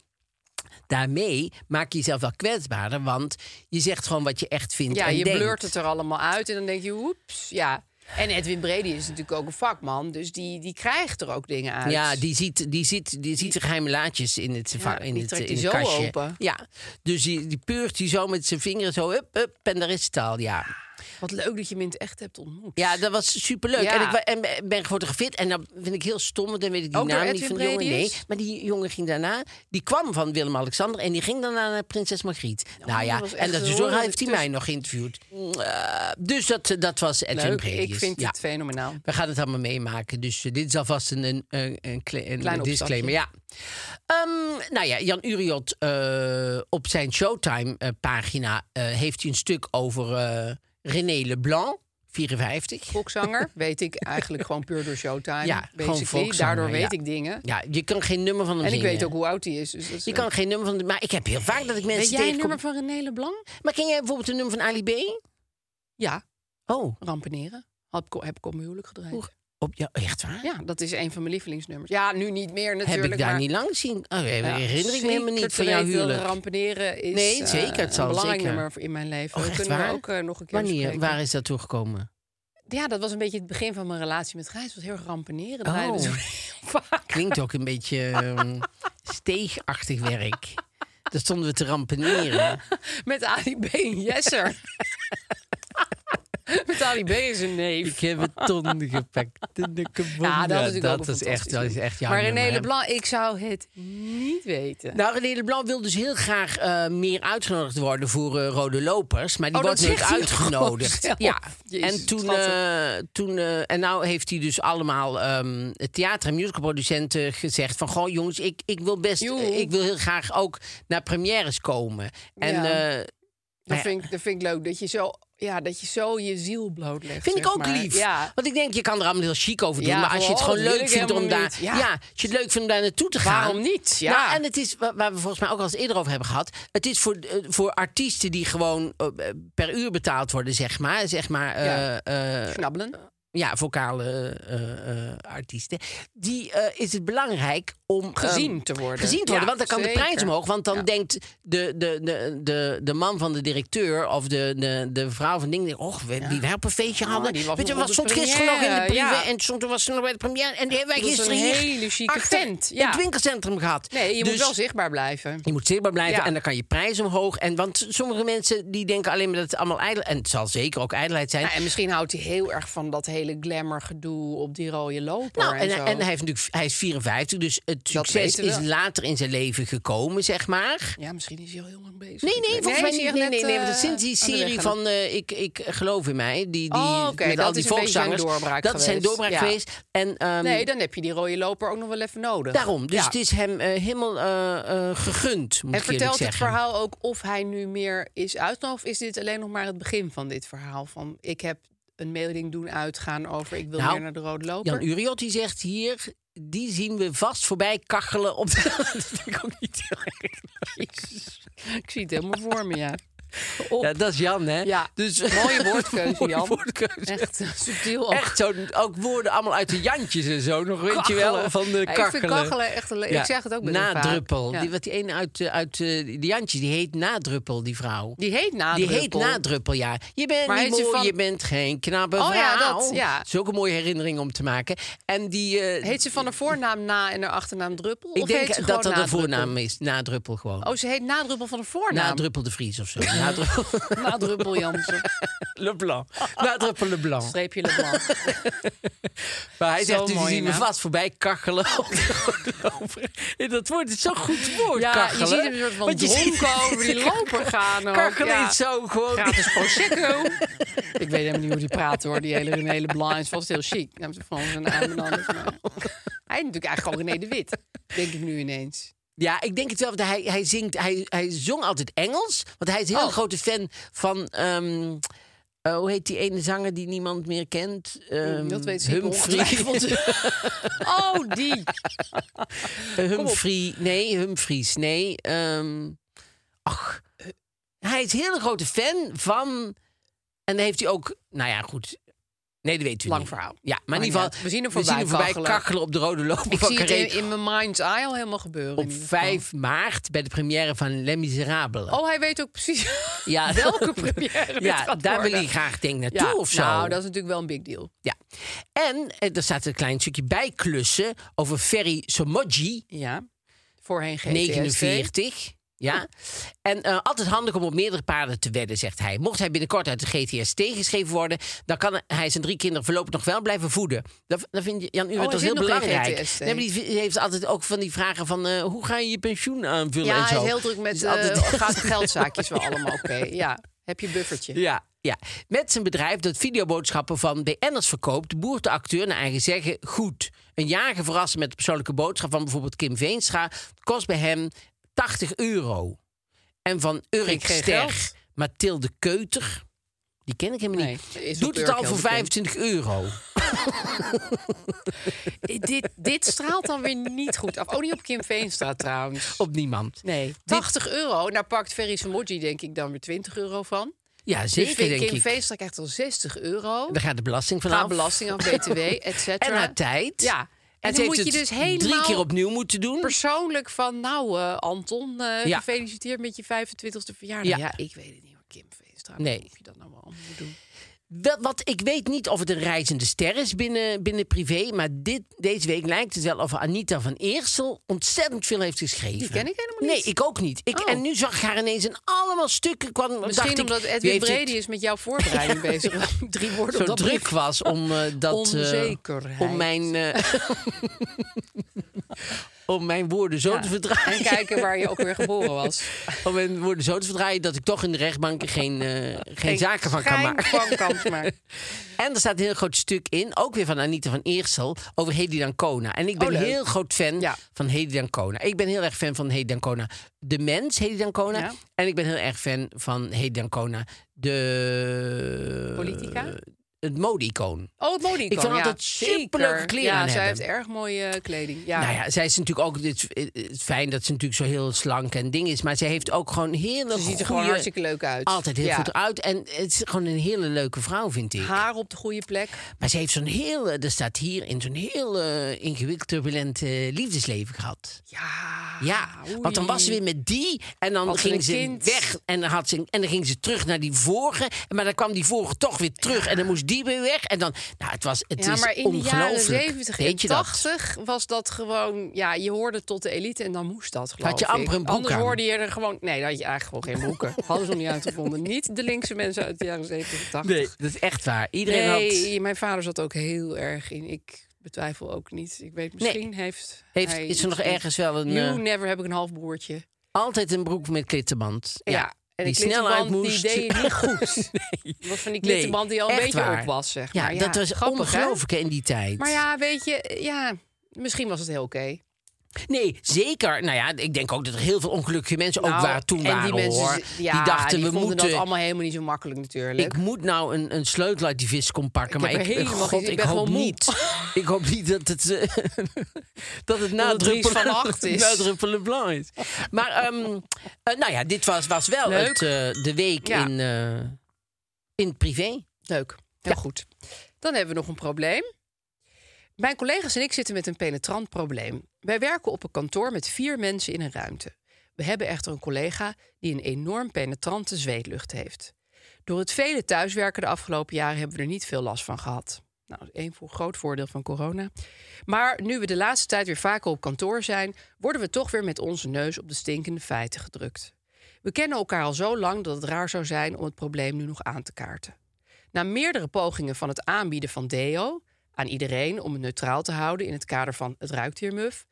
B: daarmee maak je jezelf wel kwetsbaarder want je zegt gewoon wat je echt vindt
E: Ja,
B: en
E: je
B: denkt.
E: blurt het er allemaal uit en dan denk je, oeps, ja. En Edwin Bredius is natuurlijk ook een vakman, dus die, die krijgt er ook dingen uit.
B: Ja, die ziet, die ziet, die ziet de geheime laadjes in het, va- in
E: die
B: het,
E: trekt
B: in
E: hij
B: het
E: zo
B: kastje.
E: open.
B: Ja, dus die, die peurt hij zo met zijn vingeren zo up, up en daar is het al, ja.
E: Wat leuk dat je hem in het echt hebt ontmoet.
B: Ja, dat was superleuk.
E: Ja.
B: En ik wa- en ben- ben gefotografeerd. En dat vind ik heel stom, want dan weet ik die
E: Ook door
B: naam niet
E: Edwin
B: van de jongen. Nee,
E: Bredius?
B: maar die jongen ging daarna... Die kwam van Willem-Alexander en die ging daarna naar eh, Prinses Margriet. nou ja,
E: Oh, dat was echt
B: en dat is
E: een
B: door
E: hoorn
B: heeft hij mij nog geïnterviewd. Eh, dus dat, eh, dat was Edwin
E: leuk.
B: Bredius.
E: Ik vind
B: ja.
E: het fenomenaal.
B: We gaan het allemaal meemaken. Dus eh, dit is alvast een, een, een, een, kle- een
E: Klein
B: disclaimer. Ja. Ehm, nou ja, Jan Uriot eh, op zijn Showtime-pagina eh, heeft hij een stuk over eh, René Leblanc, 54. <laughs>
E: Volkszanger weet ik eigenlijk gewoon puur door Showtime.
B: Ja,
E: basically.
B: gewoon volkszanger,
E: Daardoor weet
B: ja.
E: ik dingen.
B: Ja, je kan geen nummer van hem
E: En ik
B: zingen.
E: weet ook hoe oud hij is. Dus dat is
B: Je kan geen nummer van... Maar ik heb heel vaak dat ik mensen
E: Weet jij een
B: tegenkom.
E: nummer van René Leblanc?
B: Maar ken jij bijvoorbeeld een nummer van Ali B?
E: Ja,
B: Oh,
E: Rampeneren. Had, ik- heb ik op mijn huwelijk gedraaid.
B: Oeh. op, ja, echt waar?
E: Ja, dat is een van mijn lievelingsnummers. Ja, nu niet meer natuurlijk.
B: heb ik daar
E: maar...
B: niet lang zien? Oh, herinner ik me helemaal niet van
E: Zeker
B: jouw
E: te weten dat
B: huwelijk.
E: Rampeneren is
B: Nee,
E: eh,
B: zeker, het zal
E: een belangrijk
B: zeker.
E: nummer in mijn leven.
B: Oh,
E: We
B: echt
E: kunnen
B: waar?
E: we ook eh, nog een keer
B: Wanneer?
E: bespreken.
B: Waar is dat toegekomen?
E: Ja, dat was een beetje het begin van mijn relatie met Gijs. Het was heel erg Rampeneren. Dat
B: Oh.
E: draaiden we toen heel vaak.
B: Klinkt ook een beetje <laughs> ehm, steegachtig werk. Daar stonden we te <laughs> rampeneren.
E: <laughs> Met Ali B. en Jesser. <laughs> Met Ali B. is een neef.
B: Ik heb het ton gepakt. en de kebon.
E: Ja, dat is
B: Ja,
E: natuurlijk ook
B: dat
E: een
B: is echt, dat
E: fantastisch
B: is echt jouw
E: Maar René
B: nummer, hè?
E: Leblanc, ik zou het niet weten.
B: Nou, René Leblanc wil dus heel graag eh, meer uitgenodigd worden voor eh, Rode Lopers. Maar die
E: Oh,
B: wordt
E: dat
B: nooit
E: zegt hij ook
B: uitgenodigd.
E: gewoon
B: Ja.
E: <laughs> zelf. Jezus,
B: en toen,
E: wat een-
B: eh, toen eh, en nou heeft hij dus allemaal ehm, het theater- en musicalproducenten gezegd van goh jongens, ik, ik wil best,
E: Joe.
B: ik wil heel graag ook naar premières komen. En
E: Ja.
B: eh, ja.
E: dat, vind ik, dat vind ik leuk. Dat je zo ja, dat je, zo je ziel blootlegt.
B: Vind ik
E: zeg
B: ook
E: maar.
B: lief.
E: Ja.
B: Want ik denk, je kan er allemaal heel chic over doen.
E: Ja,
B: maar als je het
E: oh,
B: gewoon
E: dat wil
B: leuk
E: ik
B: vindt om
E: helemaal
B: daar.
E: niet.
B: Ja.
E: Ja.
B: als je het leuk vindt om daar naartoe te gaan.
E: Waarom niet? Ja.
B: Nou, en het is, wa- waar we volgens mij ook al eens eerder over hebben gehad. Het is voor, eh, voor artiesten die gewoon eh, per uur betaald worden, zeg maar. Zeg maar eh,
E: Ja.
B: eh,
E: Knabbelen.
B: ja, vocale eh, eh, artiesten. Die eh, is het belangrijk om
E: Gezien
B: eh,
E: te worden.
B: Gezien te worden,
E: Ja,
B: want dan kan de
E: zeker.
B: prijs omhoog. Want dan
E: Ja.
B: denkt de, de, de, de, de man van de directeur of de, de, de vrouw van ding, oh, we, die wij op een feestje
E: Oh,
B: hadden.
E: die was
B: Weet je,
E: nog op
B: was
E: de
B: stond gisteren nog in de
E: première,
B: privé
E: ja.
B: en stond, toen was ze nog bij de première. En die hebben wij
E: Dat was een
B: gisteren hier
E: hele chique
B: achter
E: tent, ja.
B: het winkelcentrum gehad.
E: Nee, je
B: dus,
E: moet wel zichtbaar blijven.
B: je moet zichtbaar blijven
E: Ja.
B: en dan kan je prijs omhoog. En, want
E: Nou,
B: sommige mensen die denken alleen maar dat het allemaal ijdel... En het zal zeker ook ijdelheid zijn.
E: Ja, en misschien houdt hij heel erg van dat hele hele glamour gedoe op die rode loper.
B: Nou,
E: en,
B: en,
E: zo.
B: hij- en hij, heeft natuurlijk, hij is 54, dus het
E: Dat
B: succes
E: weten we.
B: is later in zijn leven gekomen, zeg maar.
E: Ja, misschien is hij al heel lang bezig.
B: Nee, nee, volgens mij
E: is hij
B: niet. Nee,
E: echt net,
B: nee, nee,
E: eh,
B: want sinds die
E: aan de
B: serie
E: weg.
B: van eh, ik, ik Geloof in Mij, die, die,
E: Oh, oké,
B: met
E: dat
B: al die
E: is een beetje zijn
B: volkszangers,
E: doorbraak
B: dat is zijn
E: geweest,
B: doorbraak
E: ja.
B: geweest. En, ehm,
E: Nee, dan heb je die rode loper ook nog wel even nodig.
B: Daarom, dus
E: Ja.
B: het is hem eh, helemaal eh, eh, gegund, moet ik
E: En
B: eerlijk
E: vertelt het
B: zeggen.
E: verhaal ook of hij nu meer is uitgenodigd? Of is dit alleen nog maar het begin van dit verhaal? Van ik heb een mailing doen uitgaan over ik wil
B: Nou,
E: weer naar de rode loper.
B: Jan Uriot die zegt hier, die zien we vast voorbij kachelen op <laughs> de... dat vind ik ook niet heel erg.
E: Jezus. Ik zie het helemaal voor me, <laughs> ja. Op.
B: Ja, dat is Jan, hè?
E: Ja,
B: Dus,
E: mooie woordkeuze,
B: <laughs> Mooie
E: Jan.
B: woordkeuze.
E: Echt eh, subtiel ook.
B: Echt zo, ook woorden allemaal uit de jantjes en zo. Nog weet je wel
E: Kachelen.
B: van de
E: Ja, ik
B: kachelen.
E: vind kachelen echt een le- ik zeg het ook best wel vaak.
B: Nadruppel.
E: Ja.
B: Die, wat die ene uit, eh, uit eh, die jantjes, die heet Nadruppel, die vrouw.
E: Die heet
B: Die
E: nadruppel.
B: heet Nadruppel, ja. Je bent
E: Maar
B: niet
E: heet ze
B: mooi,
E: van-
B: je bent geen knappe
E: Oh
B: vrouw.
E: ja, dat, ja.
B: Dat is ook een mooie herinnering om te maken. En die... eh,
E: Heet ze van haar voornaam na en haar achternaam druppel?
B: ik
E: of
B: denk
E: heet ze
B: dat
E: gewoon
B: dat een
E: nadruppel?
B: voornaam is. Nadruppel gewoon.
E: Oh, ze heet nadruppel van de voornaam.
B: Nadruppel de Vries of zo. Nadruppel
E: <laughs>
B: <laughs>
E: Nadruppel Jansen.
B: Leblanc. Nadruppel Leblanc.
E: Streepje Leblanc.
B: Maar hij
E: Zo
B: zegt, dus die
E: mooi,
B: zien we
E: hè?
B: vast voorbij kachelen. op de loper. En dat wordt het zo'n goed woord,
E: Ja,
B: kachelen.
E: je ziet hem een soort van
B: Want je ziet-
E: dronken
B: <laughs>
E: over die loper gaan ook,
B: Kachelen
E: ja.
B: is zo gewoon...
E: Gratis Prosecco. ik weet helemaal niet hoe die praat hoor. Die hele René Leblanc is vast heel chic. Nou, Hij heeft van zijn naam en alles. dus, maar- Hij is natuurlijk eigenlijk gewoon René de Wit. Denk ik nu ineens.
B: Ja, ik denk het wel. Want hij, hij, zingt, hij, hij zong altijd Engels. Want hij is een heel
E: Oh.
B: grote fan van... ehm, eh, hoe heet die ene zanger die niemand meer kent? Ehm,
E: dat weet ze
B: Humphrey.
E: ongetwijfeld. Oh, die.
B: Eh, Humphrey. Nee, Humphries. Nee. ehm, ach. Hij is een hele grote fan van... En heeft hij ook... Nou ja, goed. Nee, dat weet u
E: Lang
B: niet.
E: verhaal.
B: Ja, maar in
E: Maakt niet
B: ieder
E: uit.
B: geval...
E: We zien hem voorbij kachelen.
B: kachelen op de rode loper
E: Ik
B: van
E: zie het in,
B: Carré.
E: in mijn mind's eye al helemaal gebeuren. in
B: Op
E: ieder geval.
B: 5 maart bij de première van Les Miserables.
E: Oh, hij weet ook precies
B: <laughs> Ja, <laughs>
E: welke première dit
B: Ja,
E: gaat
B: daar wil
E: worden.
B: hij graag denk ik naartoe
E: Ja,
B: of zo.
E: Nou, dat is natuurlijk wel een big deal.
B: ja. En eh, er staat een klein stukje bij klussen over Ferry Somoji,
E: Ja. Voorheen GTST.
B: 49.
E: Oh.
B: Ja. En eh, altijd handig om op meerdere paarden te wedden, zegt hij. Mocht hij binnenkort uit de GTS geschreven worden... dan kan hij zijn drie kinderen voorlopig nog wel blijven voeden. Dat, dat vindt Jan Uwe
E: Oh, hij
B: toch
E: zit
B: heel
E: nog in
B: belangrijk.
E: GTST.
B: Nee, maar die v- heeft altijd ook van die vragen van... eh, hoe ga je je pensioen aanvullen
E: Ja,
B: en zo.
E: hij is heel druk met
B: Dus
E: eh,
B: altijd- <laughs>
E: gaat de geldzaakjes wel allemaal oké. Ja, heb je buffertje.
B: Ja, ja. Met zijn bedrijf dat videoboodschappen van BN'ers verkoopt, boert de acteur naar eigen zeggen goed. Een jager verrassen met de persoonlijke boodschap van bijvoorbeeld Kim Veenstra kost bij hem 80 euro. En van Urk
E: ik geen
B: Ster,
E: geld.
B: Mathilde Keuter, die ken ik helemaal
E: Nee,
B: niet,
E: is op
B: doet het
E: Urk
B: al
E: heel
B: voor
E: bekend.
B: 25 euro.
E: Dit, dit straalt dan weer niet goed af. Ook niet op Kim Veenstra trouwens.
B: Op niemand.
E: Nee. 80 euro. Daar pakt Ferry Samoji denk ik dan weer 20 euro van.
B: Ja,
E: Dus
B: zeker
E: Kim
B: denk ik.
E: Veenstra krijgt al 60 euro.
B: Daar gaat de belasting vanaf.
E: Ga belasting af,
B: <laughs>
E: btw, et cetera.
B: En haar tijd.
E: Ja. En,
B: En ze
E: dan
B: heeft
E: moet je
B: het
E: dus helemaal
B: drie keer opnieuw moeten doen.
E: persoonlijk van... Nou eh, Anton, eh,
B: Ja.
E: gefeliciteerd met je 25e verjaardag.
B: Ja.
E: Ja. ik weet het niet hoor, Kim Veenstra.
B: Nee.
E: Of je dat nou wel allemaal moet doen.
B: Wel, wat, ik weet niet of het een reizende ster is binnen, binnen privé. Maar dit, deze week lijkt het wel of Anita van Eersel ontzettend veel heeft geschreven.
E: Die ken ik helemaal niet.
B: Nee, ik ook niet. Ik,
E: Oh.
B: En nu zag ik haar ineens in allemaal stukken. Kwam,
E: Misschien
B: dacht ik,
E: omdat
B: wie
E: Edwin
B: heeft dit
E: Brady is met jouw
B: <laughs>
E: voorbereiding bezig. Drie woorden
B: zo
E: op dat
B: druk
E: brief.
B: was om
E: <laughs>
B: eh, dat... eh,
E: Onzekerheid.
B: om mijn...
E: <laughs>
B: eh, om mijn woorden zo
E: Ja.
B: te verdraaien.
E: En kijken waar je ook weer geboren
B: <laughs>
E: was.
B: Om mijn woorden zo te verdraaien dat ik toch in de rechtbanken geen, eh, geen, zaken van kan
E: Schijn
B: maken.
E: van kans maken.
B: En er staat een heel groot stuk in, ook weer van Anita van Eersel, over Hedy Dancona. En ik ben
E: Oh, leuk.
B: heel groot fan
E: Ja.
B: van Hedy Dancona. Ik ben heel erg fan van Hedy Dancona, de mens Hedy Dancona.
E: Ja.
B: En ik ben heel erg fan van Hedy Dancona, de... Eh,
E: Politica?
B: Het mode-icoon.
E: Oh, het mode
B: Ik vind
E: ja.
B: altijd
E: Zeker.
B: superleuke kleren
E: Ja,
B: aan
E: zij heeft
B: hebben.
E: erg mooie eh, kleding. Ja.
B: Nou ja, zij is natuurlijk ook... Het is- het is fijn dat ze natuurlijk zo heel slank en ding is. Maar zij heeft ook gewoon hele
E: ze ziet er gewoon
B: goeie-
E: hartstikke leuk uit.
B: Altijd heel
E: Ja.
B: goed uit. En het is gewoon een hele leuke vrouw, vind ik.
E: Haar op de goede plek.
B: Maar ze heeft zo'n heel, eh, er staat hier in zo'n heel eh, ingewikkeld turbulent eh, liefdesleven gehad.
E: Ja.
B: ja,
E: oei.
B: want dan was ze weer met die en dan
E: Had ze
B: ging
E: een
B: ze
E: kind.
B: weg en dan, had ze, en dan ging ze terug naar die vorige. Maar dan kwam die vorige toch weer terug en dan moest die weer weg. En dan, nou, het was, het
E: ja,
B: is
E: maar in de jaren
B: ongelooflijk.
E: 70
B: Weet
E: en
B: je dat?
E: 80 was dat gewoon... Ja, je hoorde tot de elite en dan moest dat, geloof
B: Had je
E: ik.
B: amper een broek
E: Anders
B: aan.
E: hoorde je er gewoon... Nee, dan had je eigenlijk gewoon
B: <laughs>
E: geen broeken. Hadden ze nog niet uitgevonden. Niet de linkse mensen uit de jaren 70 en 80.
B: Nee, dat is echt waar. Iedereen had...
E: Nee, mijn vader zat ook heel erg in. Ik betwijfel ook niet. Ik weet, misschien heeft,
B: Heeft,
E: hij
B: is er nog
E: iets in-
B: ergens wel een...
E: You
B: eh,
E: never heb ik een half broertje.
B: altijd een broek met klittenband.
E: Ja. En
B: die
E: die
B: snel uit
E: klittenband,
B: moest.
E: die deed het
B: <laughs>
E: niet goed. Het Was van die
B: Nee,
E: klittenband die al een
B: echt
E: beetje
B: waar.
E: op was, zeg
B: Ja,
E: maar.
B: dat was
E: grappig, hè?
B: ongelooflijk hè, in die tijd.
E: Maar ja, weet je, ja, misschien was het heel oké.
B: Nee, zeker. Nou ja, ik denk ook dat er heel veel ongelukkige mensen ook
E: Nou,
B: waar toen
E: en
B: waren,
E: die mensen,
B: hoor.
E: ja,
B: die dachten, we
E: vonden
B: moeten...
E: dat allemaal helemaal niet zo makkelijk natuurlijk.
B: Ik moet nou een, een sleutel uit die vis kom pakken,
E: Ik
B: maar
E: heb
B: ik,
E: er helemaal
B: God,
E: geen-
B: ik,
E: ik ben
B: hoop
E: gewoon moe.
B: niet. <laughs> ik hoop niet dat het, eh, <laughs> dat het
E: drie
B: nadruppelen,
E: van
B: <laughs>
E: acht is.
B: nadruppelen blanc is. Maar ehm, eh, nou ja, dit was, was wel
E: Leuk.
B: het, eh, de week
E: Ja.
B: in, eh, in privé.
E: Leuk, heel goed. Dan hebben we nog een probleem. Mijn collega's en ik zitten met een penetrant probleem. Wij werken op een kantoor met vier mensen in een ruimte. We hebben echter een collega die een enorm penetrante zweetlucht heeft. Door het vele thuiswerken de afgelopen jaren hebben we er niet veel last van gehad. Nou, dat is één voor groot voordeel van corona. Maar nu we de laatste tijd weer vaker op kantoor zijn, worden we toch weer met onze neus op de stinkende feiten gedrukt. We kennen elkaar al zo lang dat het raar zou zijn om het probleem nu nog aan te kaarten. Na meerdere pogingen van het aanbieden van deo aan iedereen om het neutraal te houden in het kader van het ruikt hier muf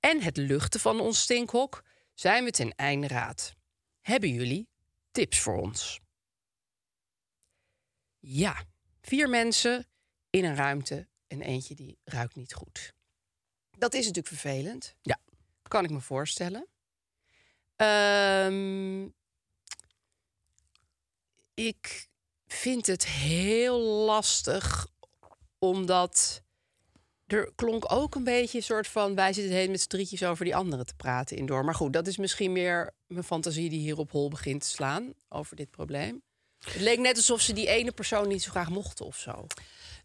E: en het luchten van ons stinkhok, zijn we ten einde raad. Hebben jullie tips voor ons? Ja, vier mensen in een ruimte en eentje die ruikt niet goed. Dat is natuurlijk vervelend.
B: Ja.
E: Kan ik me voorstellen. Ehm, ik vind het heel lastig, omdat er klonk ook een beetje een soort van... wij zitten heen met z'n drietjes over die anderen te praten in door. Maar goed, dat is misschien meer mijn fantasie die hier op hol begint te slaan over dit probleem. Het leek net alsof ze die ene persoon niet zo graag mochten of zo.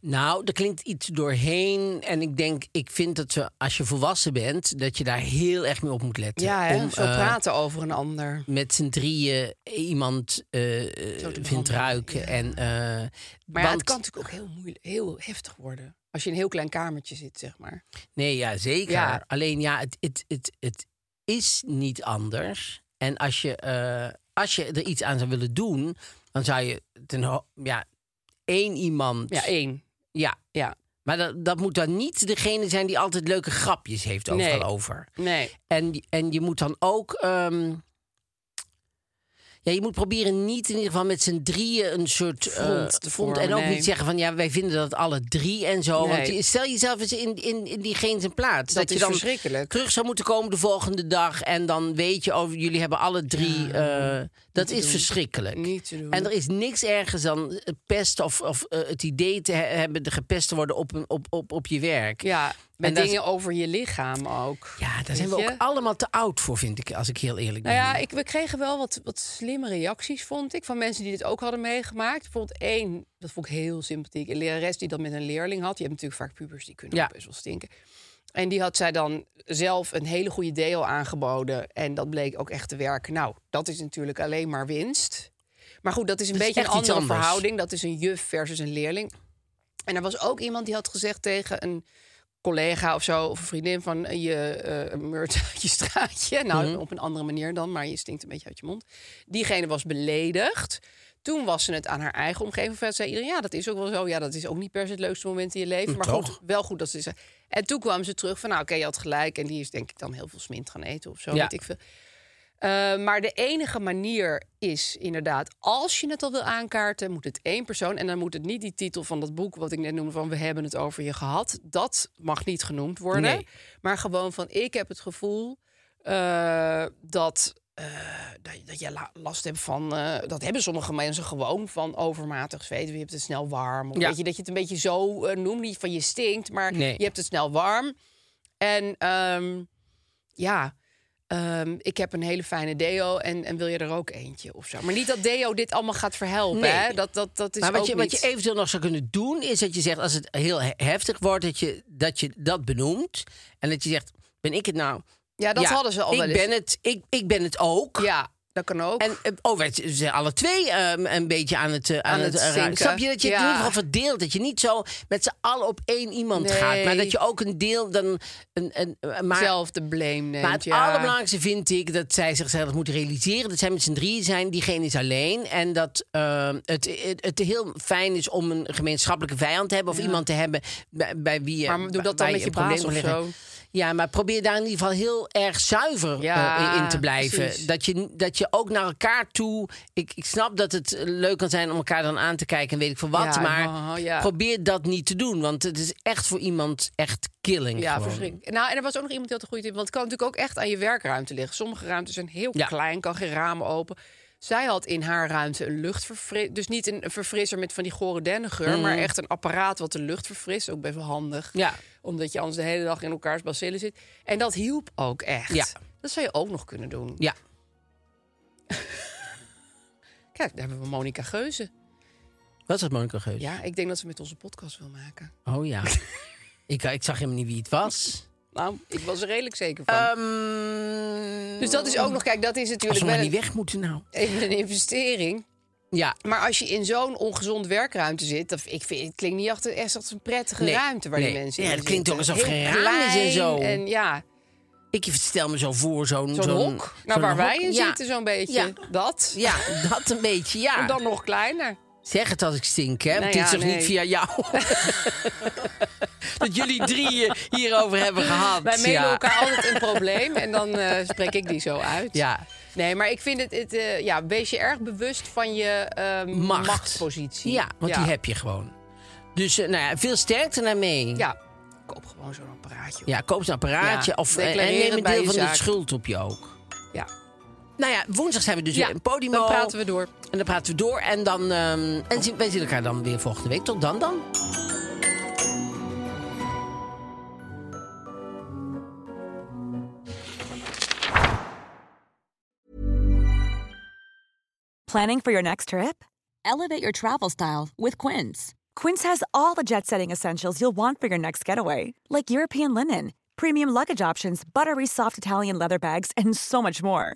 B: Nou, er klinkt iets doorheen. En ik denk, ik vind dat ze, als je volwassen bent, dat je daar heel erg mee op moet letten.
E: Ja, hè?
B: Om,
E: zo
B: eh,
E: praten over een ander.
B: met z'n drieën iemand eh, eh,
E: Zo te
B: vindt
E: behandelen,
B: ruiken.
E: ja.
B: En, eh,
E: Maar ja, het
B: want-
E: kan natuurlijk ook heel, moeilijk, heel heftig worden. Als je in een heel klein kamertje zit, zeg maar.
B: Nee, ja, zeker.
E: Ja.
B: Alleen ja, het, het, het, het is niet anders. En als je, eh, als je er iets aan zou willen doen, dan zou je ten ho- ja, één iemand.
E: Ja, één.
B: Ja.
E: Ja.
B: Maar dat, dat moet dan niet degene zijn die altijd leuke grapjes heeft overal
E: Nee.
B: over.
E: Nee.
B: En, en je moet dan ook. ehm, ja, je moet proberen niet in ieder geval met z'n drieën een soort eh,
E: Front te
B: front. En
E: vormen,
B: ook
E: nee.
B: niet zeggen van ja, wij vinden dat alle drie en zo.
E: Nee.
B: Want je- stel jezelf eens in, in, in diegene zijn plaats.
E: Dat
B: je
E: is
B: dan
E: verschrikkelijk.
B: terug zou moeten komen de volgende dag. En dan weet je, over jullie hebben alle drie. eh, dat is verschrikkelijk.
E: Niet te doen.
B: En er is niks ergens dan eh, pest of, of eh, het idee te he- hebben de gepest te worden op, een- op, op, op je werk.
E: Ja, met
B: En daar-
E: dingen over je lichaam ook.
B: Ja, daar
E: Weet
B: zijn we ook
E: je?
B: allemaal te oud voor, vind ik, als ik heel eerlijk ben.
E: Nou ja, ik, we kregen wel wat, wat slimme reacties, vond ik, van mensen die dit ook hadden meegemaakt. Bijvoorbeeld één, dat vond ik heel sympathiek, een lerares die dat met een leerling had. Je hebt natuurlijk vaak pubers, die kunnen
B: Ja.
E: ook best wel stinken. En die had zij dan zelf een hele goede deo aangeboden. En dat bleek ook echt te werken. Nou, dat is natuurlijk alleen maar winst. Maar goed, dat is een
B: Dat is
E: beetje een
B: echt iets
E: andere
B: anders.
E: verhouding. Dat is een juf versus een leerling. En er was ook iemand die had gezegd tegen een collega of zo, of een vriendin van eh, je eh meurt <laughs> uit je straatje. Nou,
B: Mhm.
E: op een andere manier dan, maar je stinkt een beetje uit je mond. Diegene was beledigd. Toen was ze het aan haar eigen omgeving. Verder zei iedereen, ja, dat is ook wel zo. Ja, dat is ook niet per se het leukste moment in je leven. Maar
B: Mm, toch?
E: goed, wel goed dat ze zei. En toen kwam ze terug van, nou, oké, je had gelijk. En die is denk ik dan heel veel smint gaan eten of zo,
B: Ja.
E: weet ik veel. Eh, maar de enige manier is inderdaad, als je het al wil aankaarten, moet het één persoon. En dan moet het niet die titel van dat boek, wat ik net noemde, van We hebben het over je gehad. Dat mag niet genoemd worden.
B: Nee.
E: Maar gewoon van: Ik heb het gevoel eh, dat, eh, dat, dat jij la- last hebt van. eh, dat hebben sommige mensen gewoon van overmatig zweet. Je hebt het snel warm. Of
B: Ja.
E: weet je, dat je het een beetje zo eh, noemt, niet van je stinkt, maar
B: Nee.
E: je hebt het snel warm. En ehm, ja. ehm, ik heb een hele fijne deo en, en wil je er ook eentje of zo. Maar niet dat deo dit allemaal gaat verhelpen.
B: Nee.
E: Hè? Dat, dat, dat is
B: maar wat
E: ook
B: je, wat
E: niet-
B: je eventueel nog zou kunnen doen, is dat je zegt: als het heel he- heftig wordt, dat je dat, je dat benoemt. En dat je zegt: ben ik het nou?
E: Ja, dat hadden ze al
B: ik
E: wel eens.
B: Ben het, ik, ik ben het ook.
E: Ja, Dat kan ook.
B: En eh, oh, werd ze zijn alle twee ehm, een beetje aan het, eh, aan
E: Aan
B: het,
E: het
B: eh,
E: zinken.
B: Snap je dat je het in
E: Ja.
B: ieder geval verdeelt? Dat je niet zo met z'n allen op één iemand
E: Nee.
B: gaat, maar dat je ook een deel dan. Een, een, eh, maar,
E: zelf de blame neemt.
B: maar het
E: ja.
B: allerbelangrijkste vind ik dat zij zichzelf moet realiseren dat zij met z'n drieën zijn, diegene is alleen. En dat eh, het, het, het heel fijn is om een gemeenschappelijke vijand te hebben of iemand te hebben bij, bij wie je.
E: Maar doe
B: bij-
E: dat
B: waar
E: dan met je
B: probleem
E: baas
B: kan
E: of
B: leggen.
E: zo.
B: Ja, maar probeer daar in ieder geval heel erg zuiver
E: Ja,
B: eh, in te blijven.
E: precies.
B: Dat je, dat je ook naar elkaar toe. Ik, ik snap dat het eh, leuk kan zijn om elkaar dan aan te kijken en weet ik veel wat.
E: Ja,
B: maar
E: haha, ja.
B: probeer dat niet te doen. Want het is echt voor iemand echt killing.
E: Ja,
B: gewoon.
E: verschrikkelijk. Nou, en er was ook nog iemand die had een goede tip. Want het kan natuurlijk ook echt aan je werkruimte liggen. Sommige ruimtes zijn heel
B: Ja.
E: klein, kan geen ramen open. Zij had in haar ruimte een luchtverfrisser. Dus niet een verfrisser met van die gore dennengeur...
B: Mm.
E: maar echt een apparaat wat de lucht verfrist. Ook best wel handig.
B: Ja.
E: Omdat je anders de hele dag in elkaars bacillen zit. En dat hielp ook echt.
B: Ja.
E: Dat zou je ook nog kunnen doen.
B: Ja.
E: Kijk, daar hebben we Monica Geuze.
B: Wat was Monica Geus?
E: Ja, ik denk dat ze met onze podcast wil maken.
B: Oh
E: <laughs>
B: ja. ik, ik zag helemaal niet wie het was.
E: Nou, ik was er redelijk zeker van.
B: Ehm,
E: dus dat is ook nog... Kijk, dat is
B: als
E: natuurlijk
B: we maar
E: wel
B: niet
E: een,
B: weg moeten nou.
E: even een investering...
B: Ja.
E: Maar als je in zo'n ongezond werkruimte zit, dat, ik vind, het klinkt niet echt, echt als een prettige
B: Nee,
E: ruimte waar
B: nee.
E: die mensen
B: Ja,
E: in
B: het klinkt
E: zitten.
B: ook alsof
E: Heel
B: geen raam is en
E: klein
B: zo.
E: En ja,
B: Ik stel me zo voor zo'n...
E: zo'n hok, nou,
B: zo'n
E: waar wij
B: hok.
E: in
B: Ja.
E: zitten zo'n beetje.
B: Ja.
E: Dat.
B: Ja, dat een beetje, ja.
E: En dan nog kleiner.
B: Zeg het als ik stink, hè?
E: Nou
B: Want
E: ja,
B: dit is toch
E: nee.
B: niet via
E: <laughs>
B: jou? dat jullie drieën hierover hebben gehad.
E: Wij mailen
B: ja.
E: elkaar altijd een probleem en dan eh, spreek ik die zo uit.
B: Ja.
E: Nee, maar ik vind het, het eh, ja, wees je erg bewust van je eh,
B: Macht.
E: machtspositie.
B: Ja, want die heb je gewoon. Dus eh, nou ja, veel sterkte daarmee.
E: Ja, koop gewoon zo'n apparaatje.
B: Ja, koop een apparaatje
E: Ja,
B: of eh, en
E: declareer
B: neem
E: het
B: een
E: bij
B: deel
E: je
B: van de
E: zaak.
B: schuld op je ook.
E: Ja.
B: Nou ja, woensdag zijn we dus
E: Ja,
B: weer in Podimo.
E: dan praten we door.
B: En dan praten we door. En, dan, ehm, en zien- wij zien elkaar dan weer volgende week. Tot dan dan.
F: Planning for your next trip? Elevate your travel style with Quince. Quince has all the jet setting essentials you'll want for your next getaway, like European linen, premium luggage options, buttery soft Italian leather bags, and so much more.